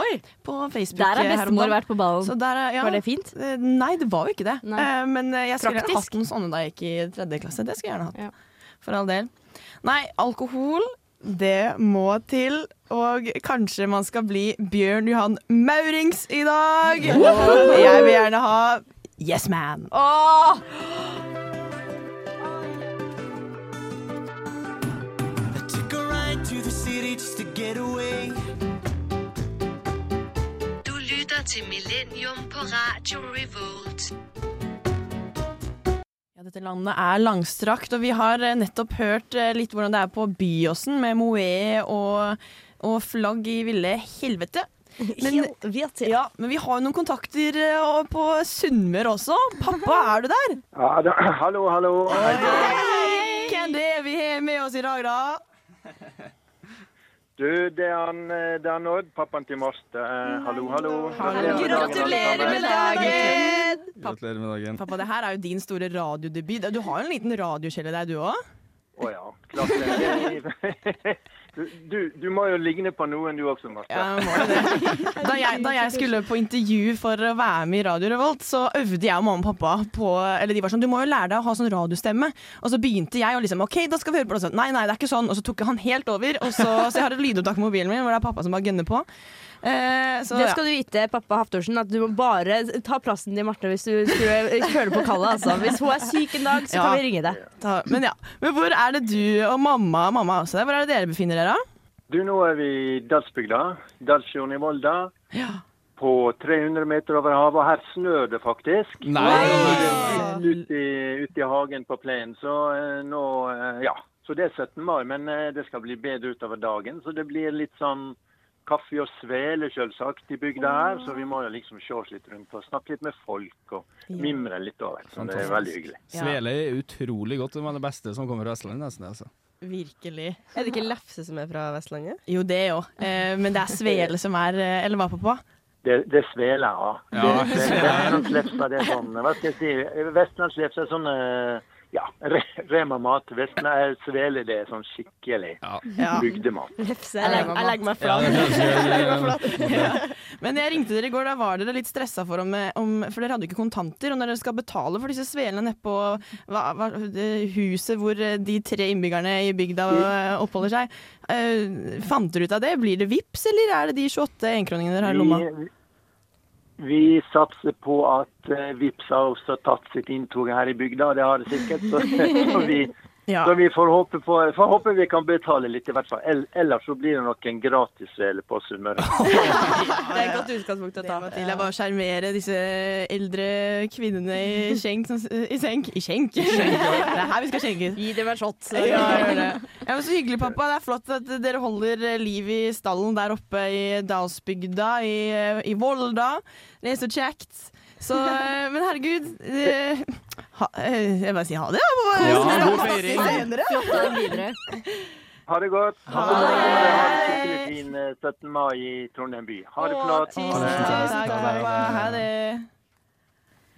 Speaker 2: på Facebook.
Speaker 1: Der har
Speaker 2: her om
Speaker 1: bestemor
Speaker 2: dagen.
Speaker 1: vært på ballen.
Speaker 2: Så der, er- ja.
Speaker 3: Var det fint?
Speaker 2: Eh, Nei, det var jo ikke det.
Speaker 3: Nei.
Speaker 2: Eh, Men eh, jeg skulle gjerne
Speaker 3: Praktisk.
Speaker 2: hatt noen sånne da jeg gikk i tredje klasse. Det skulle jeg gjerne hatt.
Speaker 3: Ja.
Speaker 2: For all del. Nei, alkohol, det må til. Og kanskje man skal bli Bjørn Johan Maurings i dag. Og jeg vil gjerne ha Yes Man.
Speaker 10: Du lytter til Millennium på Radio Revolt.
Speaker 2: Ja, dette landet er langstrakt, og vi har eh, nettopp hørt eh, litt hvordan det er på Byåsen med Moe og, og flagg i ville helvete. Men, ja, men vi har jo noen kontakter eh, og på Sunnmøre også. Pappa, er du der?
Speaker 8: Ja, da, hallo, hallo.
Speaker 2: Hvem det er vi har med oss i dag, da?
Speaker 8: Du, det er, han, eh, det er han Odd, pappaen til Moste. Eh, Hallo, hallo.
Speaker 2: Gratulerer med dagen!
Speaker 4: Gratulerer med dagen.
Speaker 2: Pappa, det her er jo din store radiodebut. Du har jo en liten radiokjelle der, du òg?
Speaker 8: Å ja, klart det. Du, du, du må jo ligne på noen du også, Moste.
Speaker 2: Ja, må jo det. Da jeg, da jeg skulle på intervju for å være med i Radio Revolt, så øvde jeg og mamma og pappa på Eller de var sånn Du må jo lære deg å ha sånn radiostemme. Og så begynte jeg og liksom OK, da skal vi høre på det. Og så, Nei, nei, det er ikke sånn. Og så tok han helt over. Og så, så jeg har et lydopptak på mobilen min hvor det er pappa som bare gunner på. Eh, så,
Speaker 3: Det
Speaker 2: ja.
Speaker 3: skal du vite, pappa Haftorsen, at du må bare ta plassen din, Marte, hvis du skulle føle på kallet. Altså. Hvis hun er syk en dag, så
Speaker 2: Ja.
Speaker 3: kan vi ringe deg.
Speaker 2: Ta, men ja. Men hvor er det du og mamma mamma også? Hvor er det dere befinner dere?
Speaker 8: Du, nå er vi i Dalsbygda, Dalsfjorden i Volda. På 300 meter over havet, og her snør det faktisk.
Speaker 4: Nei!
Speaker 8: Ute i, ut i hagen på plenen. Så eh, nå eh, Ja. Så det er 17. mai, men eh, det skal bli bedre utover dagen. Så det blir litt sånn kaffe og svele, selvsagt, i bygda her. Så vi må jo liksom se oss litt rundt og snakke litt med folk og mimre litt over. Så det er veldig hyggelig.
Speaker 4: Svele er utrolig godt. Det var det beste som kommer fra Vestlandet, nesten. Altså.
Speaker 2: Virkelig.
Speaker 6: Er det ikke lefse som er fra Vestlandet?
Speaker 2: Jo, det òg. Eh, men det er svele som er eh, Eller hva, pappa?
Speaker 8: Det, det sveler, ja.
Speaker 4: Ja,
Speaker 8: Det- det- Vestlandslefsa, det er sånn Hva skal jeg si? Vestlandslefsa er sånn eh, ja, re remamat. Vestland, svele, det er sånn skikkelig
Speaker 2: Ja.
Speaker 8: bygdemat.
Speaker 6: Jeg legger, jeg legger meg
Speaker 4: Ja,
Speaker 6: flat.
Speaker 4: det høres jo-
Speaker 2: Men jeg ringte dere i går, da var dere litt stressa for om, om For dere hadde jo ikke kontanter. Og når dere skal betale for disse svelene nedpå hva- hva- det huset hvor eh, de tre innbyggerne i bygda
Speaker 4: Mm.
Speaker 2: eh, oppholder seg, eh, fant dere ut av det? Blir det VIPs, eller er det de 28 enkroningene dere har i lomma?
Speaker 8: Vi, vi satser på at eh, Vipps har også tatt sitt inntog her i bygda, det har det sikkert. Så, så, vi,
Speaker 2: Ja.
Speaker 8: så vi får håpe, på, får håpe vi kan betale litt, i hvert fall. Ell- Ellers så blir det nok en gratisvele på Sunnmøre.
Speaker 6: Det er et godt utgangspunkt å
Speaker 2: Det
Speaker 6: ta.
Speaker 2: må til. Jeg bare sjarmere disse eldre kvinnene i skjenk som, I senk? I skjenk! Det er her vi skal skjenke ut.
Speaker 3: Gi dem en shot.
Speaker 2: Ja, gjør det. Ja, men så hyggelig, pappa. Det er flott at dere holder eh, liv i stallen der oppe i Dalsbygda, i, eh, i Volda. Det er så kjekt. Så, eh, men herregud eh, ha, eh, Jeg bare sier ha det, da.
Speaker 4: Ja, god feiring.
Speaker 1: Flott dag videre.
Speaker 8: Ha det godt. Ha det. Ha en skikkelig fin eh, 17. mai i Trondheim by. Ha det flott.
Speaker 2: Tusen, tusen takk. Ha det.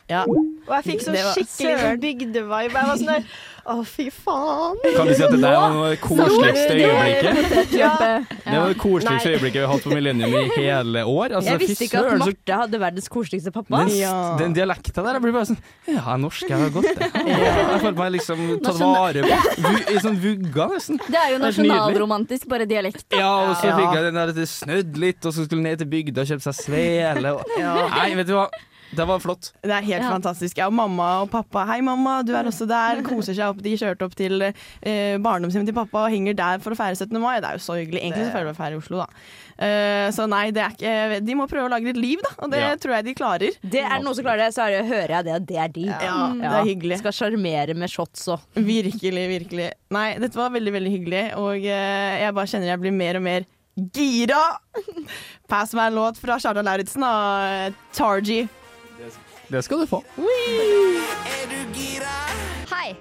Speaker 2: Ja.
Speaker 6: Og jeg fikk sånn
Speaker 2: Det var-
Speaker 6: skikkelig sånn bygdevibe. Jeg var sånn der Å, fy faen.
Speaker 4: Kan vi si at det der var det koseligste øyeblikket?
Speaker 6: Ja.
Speaker 4: Det var det koseligste øyeblikket vi har hatt på Millennium i hele år. Altså,
Speaker 3: jeg
Speaker 4: fy
Speaker 3: visste ikke at
Speaker 4: søren, så-
Speaker 3: Marte hadde verdens koseligste pappa.
Speaker 4: Den, den dialekta der, jeg blir bare sånn Ja, jeg er norsk, jeg har godt det. Jeg føler meg liksom tatt vare på. Vu- I sånn vugga, nesten.
Speaker 1: Det er jo
Speaker 4: så nydelig.
Speaker 1: nasjonalromantisk, bare dialekt.
Speaker 4: Ja, og så
Speaker 1: Ja.
Speaker 4: fikk jeg den der at det snødde litt, og så skulle jeg ned til bygda og kjøpe seg svele. Og...
Speaker 2: Ja.
Speaker 4: Nei, vet du hva. Det var flott.
Speaker 2: Det er helt
Speaker 1: Ja.
Speaker 2: fantastisk. Ja, og mamma og pappa Hei, mamma, du er også der. Koser seg opp. De kjørte opp til eh, barndomshjemmet til pappa og henger der for å feire 17. mai. Det er jo så hyggelig. Egentlig så føler jeg meg feire i Oslo, da. Eh, så nei, det er ikke eh, De må prøve å lage litt liv, da. Og det
Speaker 3: Ja.
Speaker 2: tror jeg de klarer.
Speaker 3: Det er noen som klarer det, så er det, hører jeg det, og det er de.
Speaker 2: Ja, det er hyggelig.
Speaker 3: Skal sjarmere med shots og
Speaker 2: Virkelig, virkelig. Nei, dette var veldig, veldig hyggelig. Og eh, jeg bare kjenner jeg blir mer og mer gira. Pass meg en låt fra Sharda Lauritzen og Tarji.
Speaker 4: Det skal du få.
Speaker 11: Hei!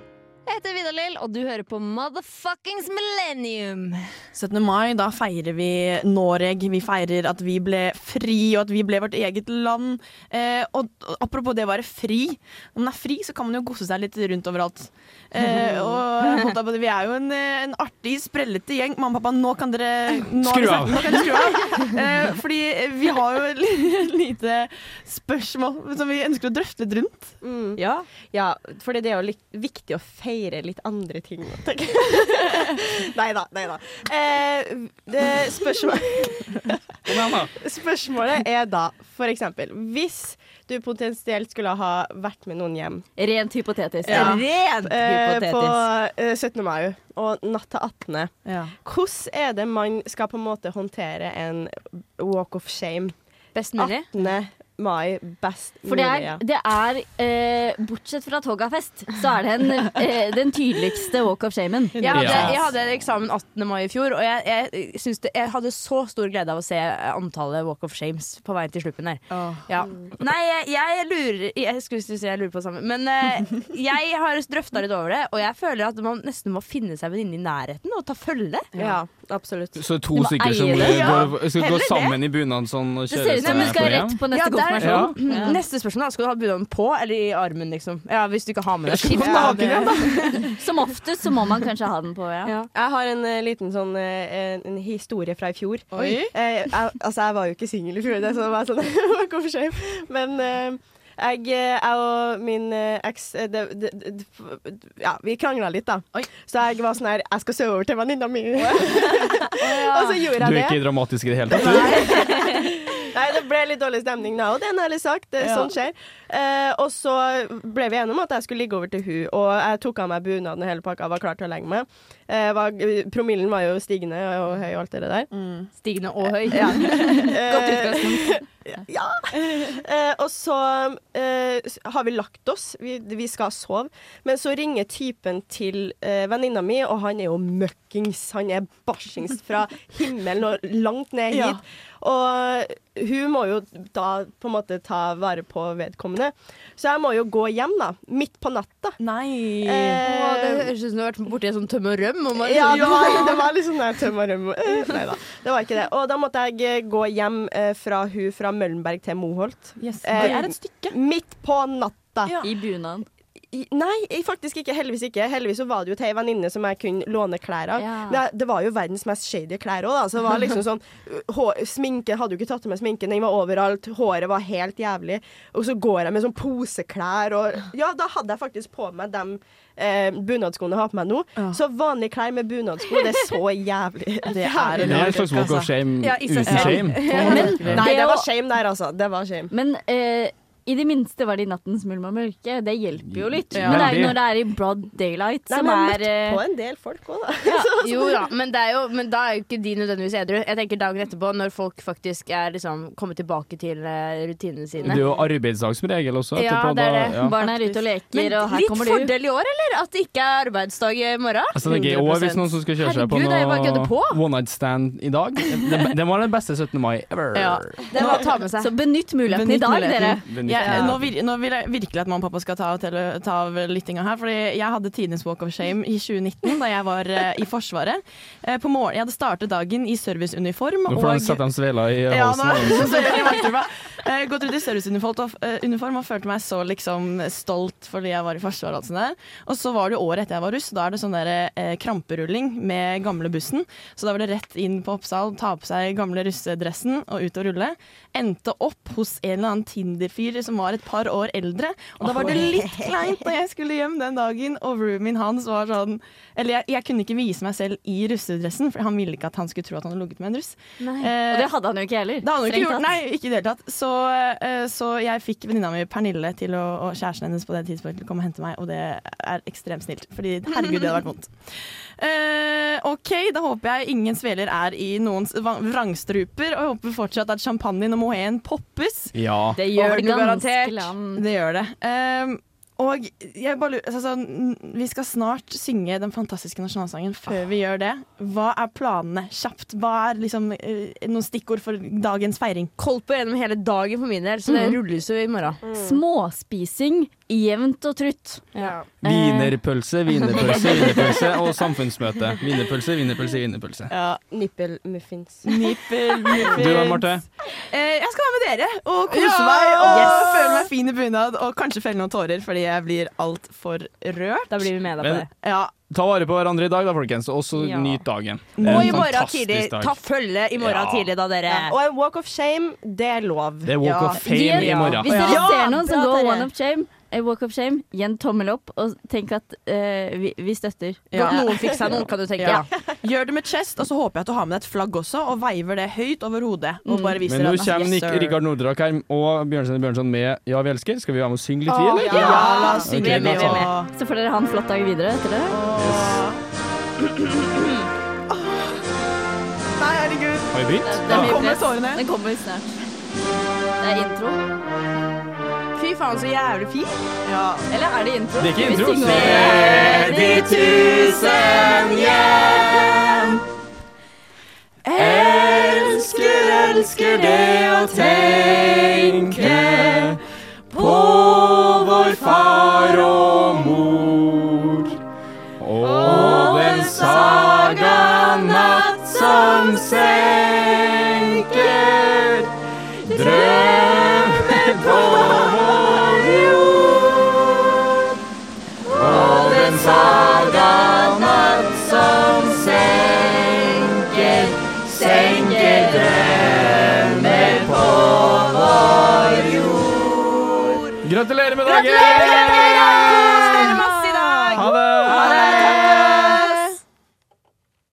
Speaker 11: Jeg heter Vidar-Lill, og du hører på Motherfuckings Millennium.
Speaker 2: 17. mai, da feirer vi Noreg. Vi feirer at vi ble fri, og at vi ble vårt eget land. Eh, og, og apropos det å være fri. Når man er fri, så kan man jo gosse seg litt rundt overalt. Eh, og holdt jeg på, å si, vi er jo en, eh, en artig, sprellete gjeng. Mamma og pappa, nå kan dere nå har
Speaker 4: Skru
Speaker 2: vi
Speaker 4: av.
Speaker 2: snakket- Nå kan dere skru av! Eh, fordi vi har jo et lite spørsmål som vi ønsker å drøfte litt rundt.
Speaker 6: Ja. ja, fordi det er jo litt viktig å feire litt andre ting. tenker jeg. nei da, nei da. Eh, det, spørsmål, spørsmålet er da for eksempel Hvis du potensielt skulle ha vært med noen hjem
Speaker 1: Rent hypotetisk.
Speaker 6: Ja.
Speaker 1: Rent
Speaker 6: eh, på eh, 17. mai og natt til 18.
Speaker 2: Ja.
Speaker 6: Hvordan er det man skal på en måte håndtere en walk of shame?
Speaker 1: Best mulig?
Speaker 6: 18. mai, best
Speaker 1: For det
Speaker 6: mulig.
Speaker 1: er,
Speaker 6: ja.
Speaker 1: det er eh, bortsett fra Togafest, så er det en, eh, den tydeligste walk of shamen.
Speaker 3: Jeg hadde, jeg hadde eksamen 18. mai i fjor, og jeg, jeg, syns det, jeg hadde så stor glede av å se eh, antallet Walk of Shames på veien til sluppen der. Ja. Nei, jeg, jeg lurer Jeg skulle si jeg lurer på det samme, men eh, jeg har drøfta litt over det, og jeg føler at man nesten må finne seg venninne i nærheten og ta følge.
Speaker 6: Ja, absolutt.
Speaker 4: Så to stykker som eh, går, skal gå sammen i bunad sånn og
Speaker 3: Det
Speaker 4: kjøre
Speaker 3: ser ut som
Speaker 4: sånn
Speaker 3: vi skal
Speaker 4: her
Speaker 3: rett
Speaker 4: på
Speaker 3: på neste
Speaker 4: hjem?
Speaker 3: konfirmasjon.
Speaker 4: Ja.
Speaker 3: Mm, Neste spørsmål er skal du ha bunaden på eller i armen, liksom. Ja, hvis du ikke har med deg
Speaker 1: Skal du
Speaker 3: skilt.
Speaker 1: ha
Speaker 3: Ja, det-
Speaker 1: Som oftest så må man kanskje ha den på, ja.
Speaker 6: Jeg har en eh, liten sånn eh, en, en historie fra i fjor.
Speaker 1: Oi.
Speaker 6: Eh, jeg, altså, jeg var jo ikke singel i fjor, det er sånn, jeg var sånn walk of shame. Men eh, jeg, eh, jeg og min eh, eks eh, det, det, det, Ja, vi krangla litt, da. Så jeg var sånn her Jeg skal sove over til venninna mi. Og så
Speaker 4: Du
Speaker 6: gjorde jeg det.
Speaker 4: er ikke dramatisk i det hele tatt.
Speaker 6: Nei, det ble litt dårlig stemning da, og det er en ærlig sak. Det,
Speaker 4: Ja.
Speaker 6: Sånn skjer. Eh, og så ble vi enige om at jeg skulle ligge over til hun, og jeg tok av meg bunaden og hele pakka, var klar til å legge meg. Eh, var, promillen var jo stigende og høy og alt det der.
Speaker 3: Stigende og høy.
Speaker 6: Ja.
Speaker 3: Godt
Speaker 6: ja. Eh, og så eh, s- har vi lagt oss, vi, vi skal sove, men så ringer typen til eh, venninna mi, og han er jo møkkings. Han er bæsjings fra himmelen og langt ned hit.
Speaker 2: Ja.
Speaker 6: Og hun må jo da på en måte ta vare på vedkommende. Så jeg må jo gå hjem, da. Midt på natta.
Speaker 2: Nei.
Speaker 3: Å, det høres ut som du har vært borti en sånn tøm og røm. Og man,
Speaker 6: Ja, det var, det var liksom der tømma rømme. Eh, Nei da, det var ikke det. Og da måtte jeg eh, gå hjem eh, fra hun fra Møllenberg til Moholt.
Speaker 2: Yes,
Speaker 6: Eh,
Speaker 2: det er et stykke.
Speaker 6: Midt på natta.
Speaker 1: I bunaden.
Speaker 6: I- Nei, i- faktisk ikke. Heldigvis ikke. Heldigvis så var det jo til ei venninne som jeg kunne låne klær av.
Speaker 1: Ja.
Speaker 6: Men jeg- det var jo verdens mest shady klær òg, da. Så det var liksom sånn uh, hår, Sminken hadde jo ikke tatt med sminken, den var overalt. Håret var helt jævlig. Og så går jeg med sånn poseklær og Ja, da hadde jeg faktisk på meg de eh, bunadskoene jeg har på meg nå. Så vanlige klær med bunadsko, det er så jævlig.
Speaker 2: Det er
Speaker 4: Det er en slags walk of shame
Speaker 6: Ja, i seg
Speaker 4: uten
Speaker 6: selv.
Speaker 4: shame.
Speaker 6: Nei, det var
Speaker 1: å-
Speaker 6: shame der, altså. Det var shame.
Speaker 1: Men eh, i det minste var det i nattens mulm og mørke. Det hjelper jo litt.
Speaker 6: Ja.
Speaker 1: Men det er jo
Speaker 6: Veldig.
Speaker 1: når det er i broad daylight
Speaker 6: Nei,
Speaker 1: som
Speaker 6: men
Speaker 1: er
Speaker 6: jeg møtte på
Speaker 1: eh,
Speaker 6: en del folk òg, da.
Speaker 3: Jo da, men, det er jo, men da er jo ikke de nødvendigvis edru. Jeg tenker dagen etterpå, når folk faktisk er liksom kommet tilbake til eh, rutinene
Speaker 4: Det
Speaker 3: sine.
Speaker 4: er jo arbeidsdag som regel også.
Speaker 3: Ja,
Speaker 4: etterpå,
Speaker 3: det er
Speaker 4: da-
Speaker 3: det.
Speaker 4: ja.
Speaker 1: Barna er ute og leker,
Speaker 3: Men
Speaker 1: og her
Speaker 3: litt
Speaker 1: kommer du.
Speaker 3: fordel i år, eller? At det ikke er arbeidsdag i morgen?
Speaker 4: Altså, det er gøy også hvis noen som skal kjøre seg på
Speaker 3: Herregud, jeg bare kødder på.
Speaker 4: noe one night stand i dag. Det, det var den beste 17. mai ever.
Speaker 3: Ja, det må ta med seg.
Speaker 1: Så benytt muligheten i dag, dere.
Speaker 4: Benytt
Speaker 2: jeg, nå, vir, nå vil jeg virkelig at mamma og pappa skal ta av, tele, ta av lyttinga her. Fordi jeg hadde tidenes walk of shame i 2019 da jeg var eh, i Forsvaret. Eh, på morgen, jeg hadde startet dagen i serviceuniform.
Speaker 4: Nå får han sette dem svela i
Speaker 2: Ja, nå,
Speaker 4: halsen.
Speaker 2: så jeg vet du hva. Eh, gått ut i serviceuniform og, eh, uniform og følte meg så liksom stolt fordi jeg var i Forsvaret. Og, alt sånt der. og så var det jo året etter jeg var russ, og da er det sånn der, eh, kramperulling med gamlebussen. Så da var det rett inn på Oppsal, ta på seg gamle russedressen og ut og rulle. Endte opp hos en eller annen Tinder-fyr som var et par år eldre. Og da var det litt kleint når jeg skulle hjem den dagen, og roomien hans var sånn Eller jeg, jeg kunne ikke vise meg selv i russedressen, for han ville ikke at han skulle tro at han hadde ligget med en russ.
Speaker 1: Nei.
Speaker 2: Eh,
Speaker 1: Og det hadde han jo ikke heller.
Speaker 2: det hadde hun ikke
Speaker 1: Strengt
Speaker 2: gjort,
Speaker 1: tatt.
Speaker 2: nei, ikke i det hele tatt. Så, eh, så jeg fikk venninna mi Pernille til å, og kjæresten hennes på det tidspunktet til å komme og hente meg, og det er ekstremt snilt. Fordi herregud, det hadde vært vondt. Eh, OK, da håper jeg ingen sveler er i noens va- vrangstruper, og jeg håper fortsatt at champagnen og mohaen poppes.
Speaker 4: Ja.
Speaker 1: Det gjør det
Speaker 2: Overgår
Speaker 1: ganske
Speaker 2: garantert.
Speaker 1: land.
Speaker 2: Det gjør det. Ehm, og jeg bare lurer, altså, sånn, vi skal snart synge den fantastiske nasjonalsangen. Før vi gjør det, hva er planene? Kjapt. Hva er liksom, eh, noen stikkord for dagens feiring?
Speaker 3: Kolpo gjennom hele dagen for min del, så det
Speaker 1: Mhm.
Speaker 3: rulles jo i morgen.
Speaker 1: Småspising jevnt og trutt.
Speaker 4: Wienerpølse, wienerpølse, wienerpølse og samfunnsmøte. Wienerpølse, wienerpølse, wienerpølse.
Speaker 2: Ja.
Speaker 6: Nippelmuffins.
Speaker 4: Du da, Marte?
Speaker 2: Eh, jeg skal være med dere eh, og kose
Speaker 6: Ja!
Speaker 2: meg og
Speaker 6: Yes!
Speaker 2: føle meg fin i bunad og kanskje felle noen tårer fordi jeg blir altfor rørt. Da blir vi med
Speaker 4: deg på Men- det.
Speaker 2: Ja.
Speaker 4: Ta vare på hverandre i dag, da, folkens, og så nyt dagen. Det er
Speaker 3: Og
Speaker 4: en
Speaker 3: i morgen
Speaker 4: fantastisk
Speaker 3: tidlig.
Speaker 4: dag.
Speaker 3: Ta følge i morgen
Speaker 4: Ja.
Speaker 3: tidlig, da, dere.
Speaker 6: Og en walk of shame, det er lov.
Speaker 4: Det er walk of fame i morgen.
Speaker 1: Hvis dere
Speaker 6: Ja,
Speaker 1: ser noen som
Speaker 6: bra,
Speaker 1: går
Speaker 6: dere.
Speaker 1: one of shame, eh, walk of shame, gi en tommel opp og tenk at eh, vi, vi støtter.
Speaker 2: Ja.
Speaker 1: Godt
Speaker 2: Ja. Gjør det med chest, og så håper jeg at du har med deg et flagg også, og veiver det høyt over hodet. Og bare viser
Speaker 4: Mm. Men
Speaker 2: at-
Speaker 4: nå kommer
Speaker 2: Yes,
Speaker 4: Nick,
Speaker 2: sir.
Speaker 4: Rikard Nordraak her og Bjørnstein Bjørnson med 'Ja, vi elsker'. Skal vi være med og synge litt, vi,
Speaker 2: Å,
Speaker 4: eller?
Speaker 2: ja. Ja, la oss synge.
Speaker 4: Ok,
Speaker 2: Vi er med,
Speaker 4: da
Speaker 2: vi er
Speaker 4: tar
Speaker 2: med.
Speaker 1: Så får dere ha en flott dag videre etter det.
Speaker 2: Nei, herregud.
Speaker 4: Har vi begynt?
Speaker 1: Det er
Speaker 4: Ja.
Speaker 1: mye
Speaker 2: kommer
Speaker 1: press.
Speaker 2: tårene.
Speaker 1: Den kommer snart. Det er intro.
Speaker 3: Fy faen, så jævlig fint.
Speaker 1: Eller er det intro?
Speaker 4: Det er ikke
Speaker 1: Vi
Speaker 4: intro.
Speaker 1: synger
Speaker 4: Se
Speaker 1: over.
Speaker 4: de tusen hjem.
Speaker 2: Elsker, elsker det å tenke
Speaker 4: på vår far og mor. Og den saga natt som senker drømmer på vår jord. Og den saga natt som senker, senker drømmer på vår jord. Gratulerer med dagen!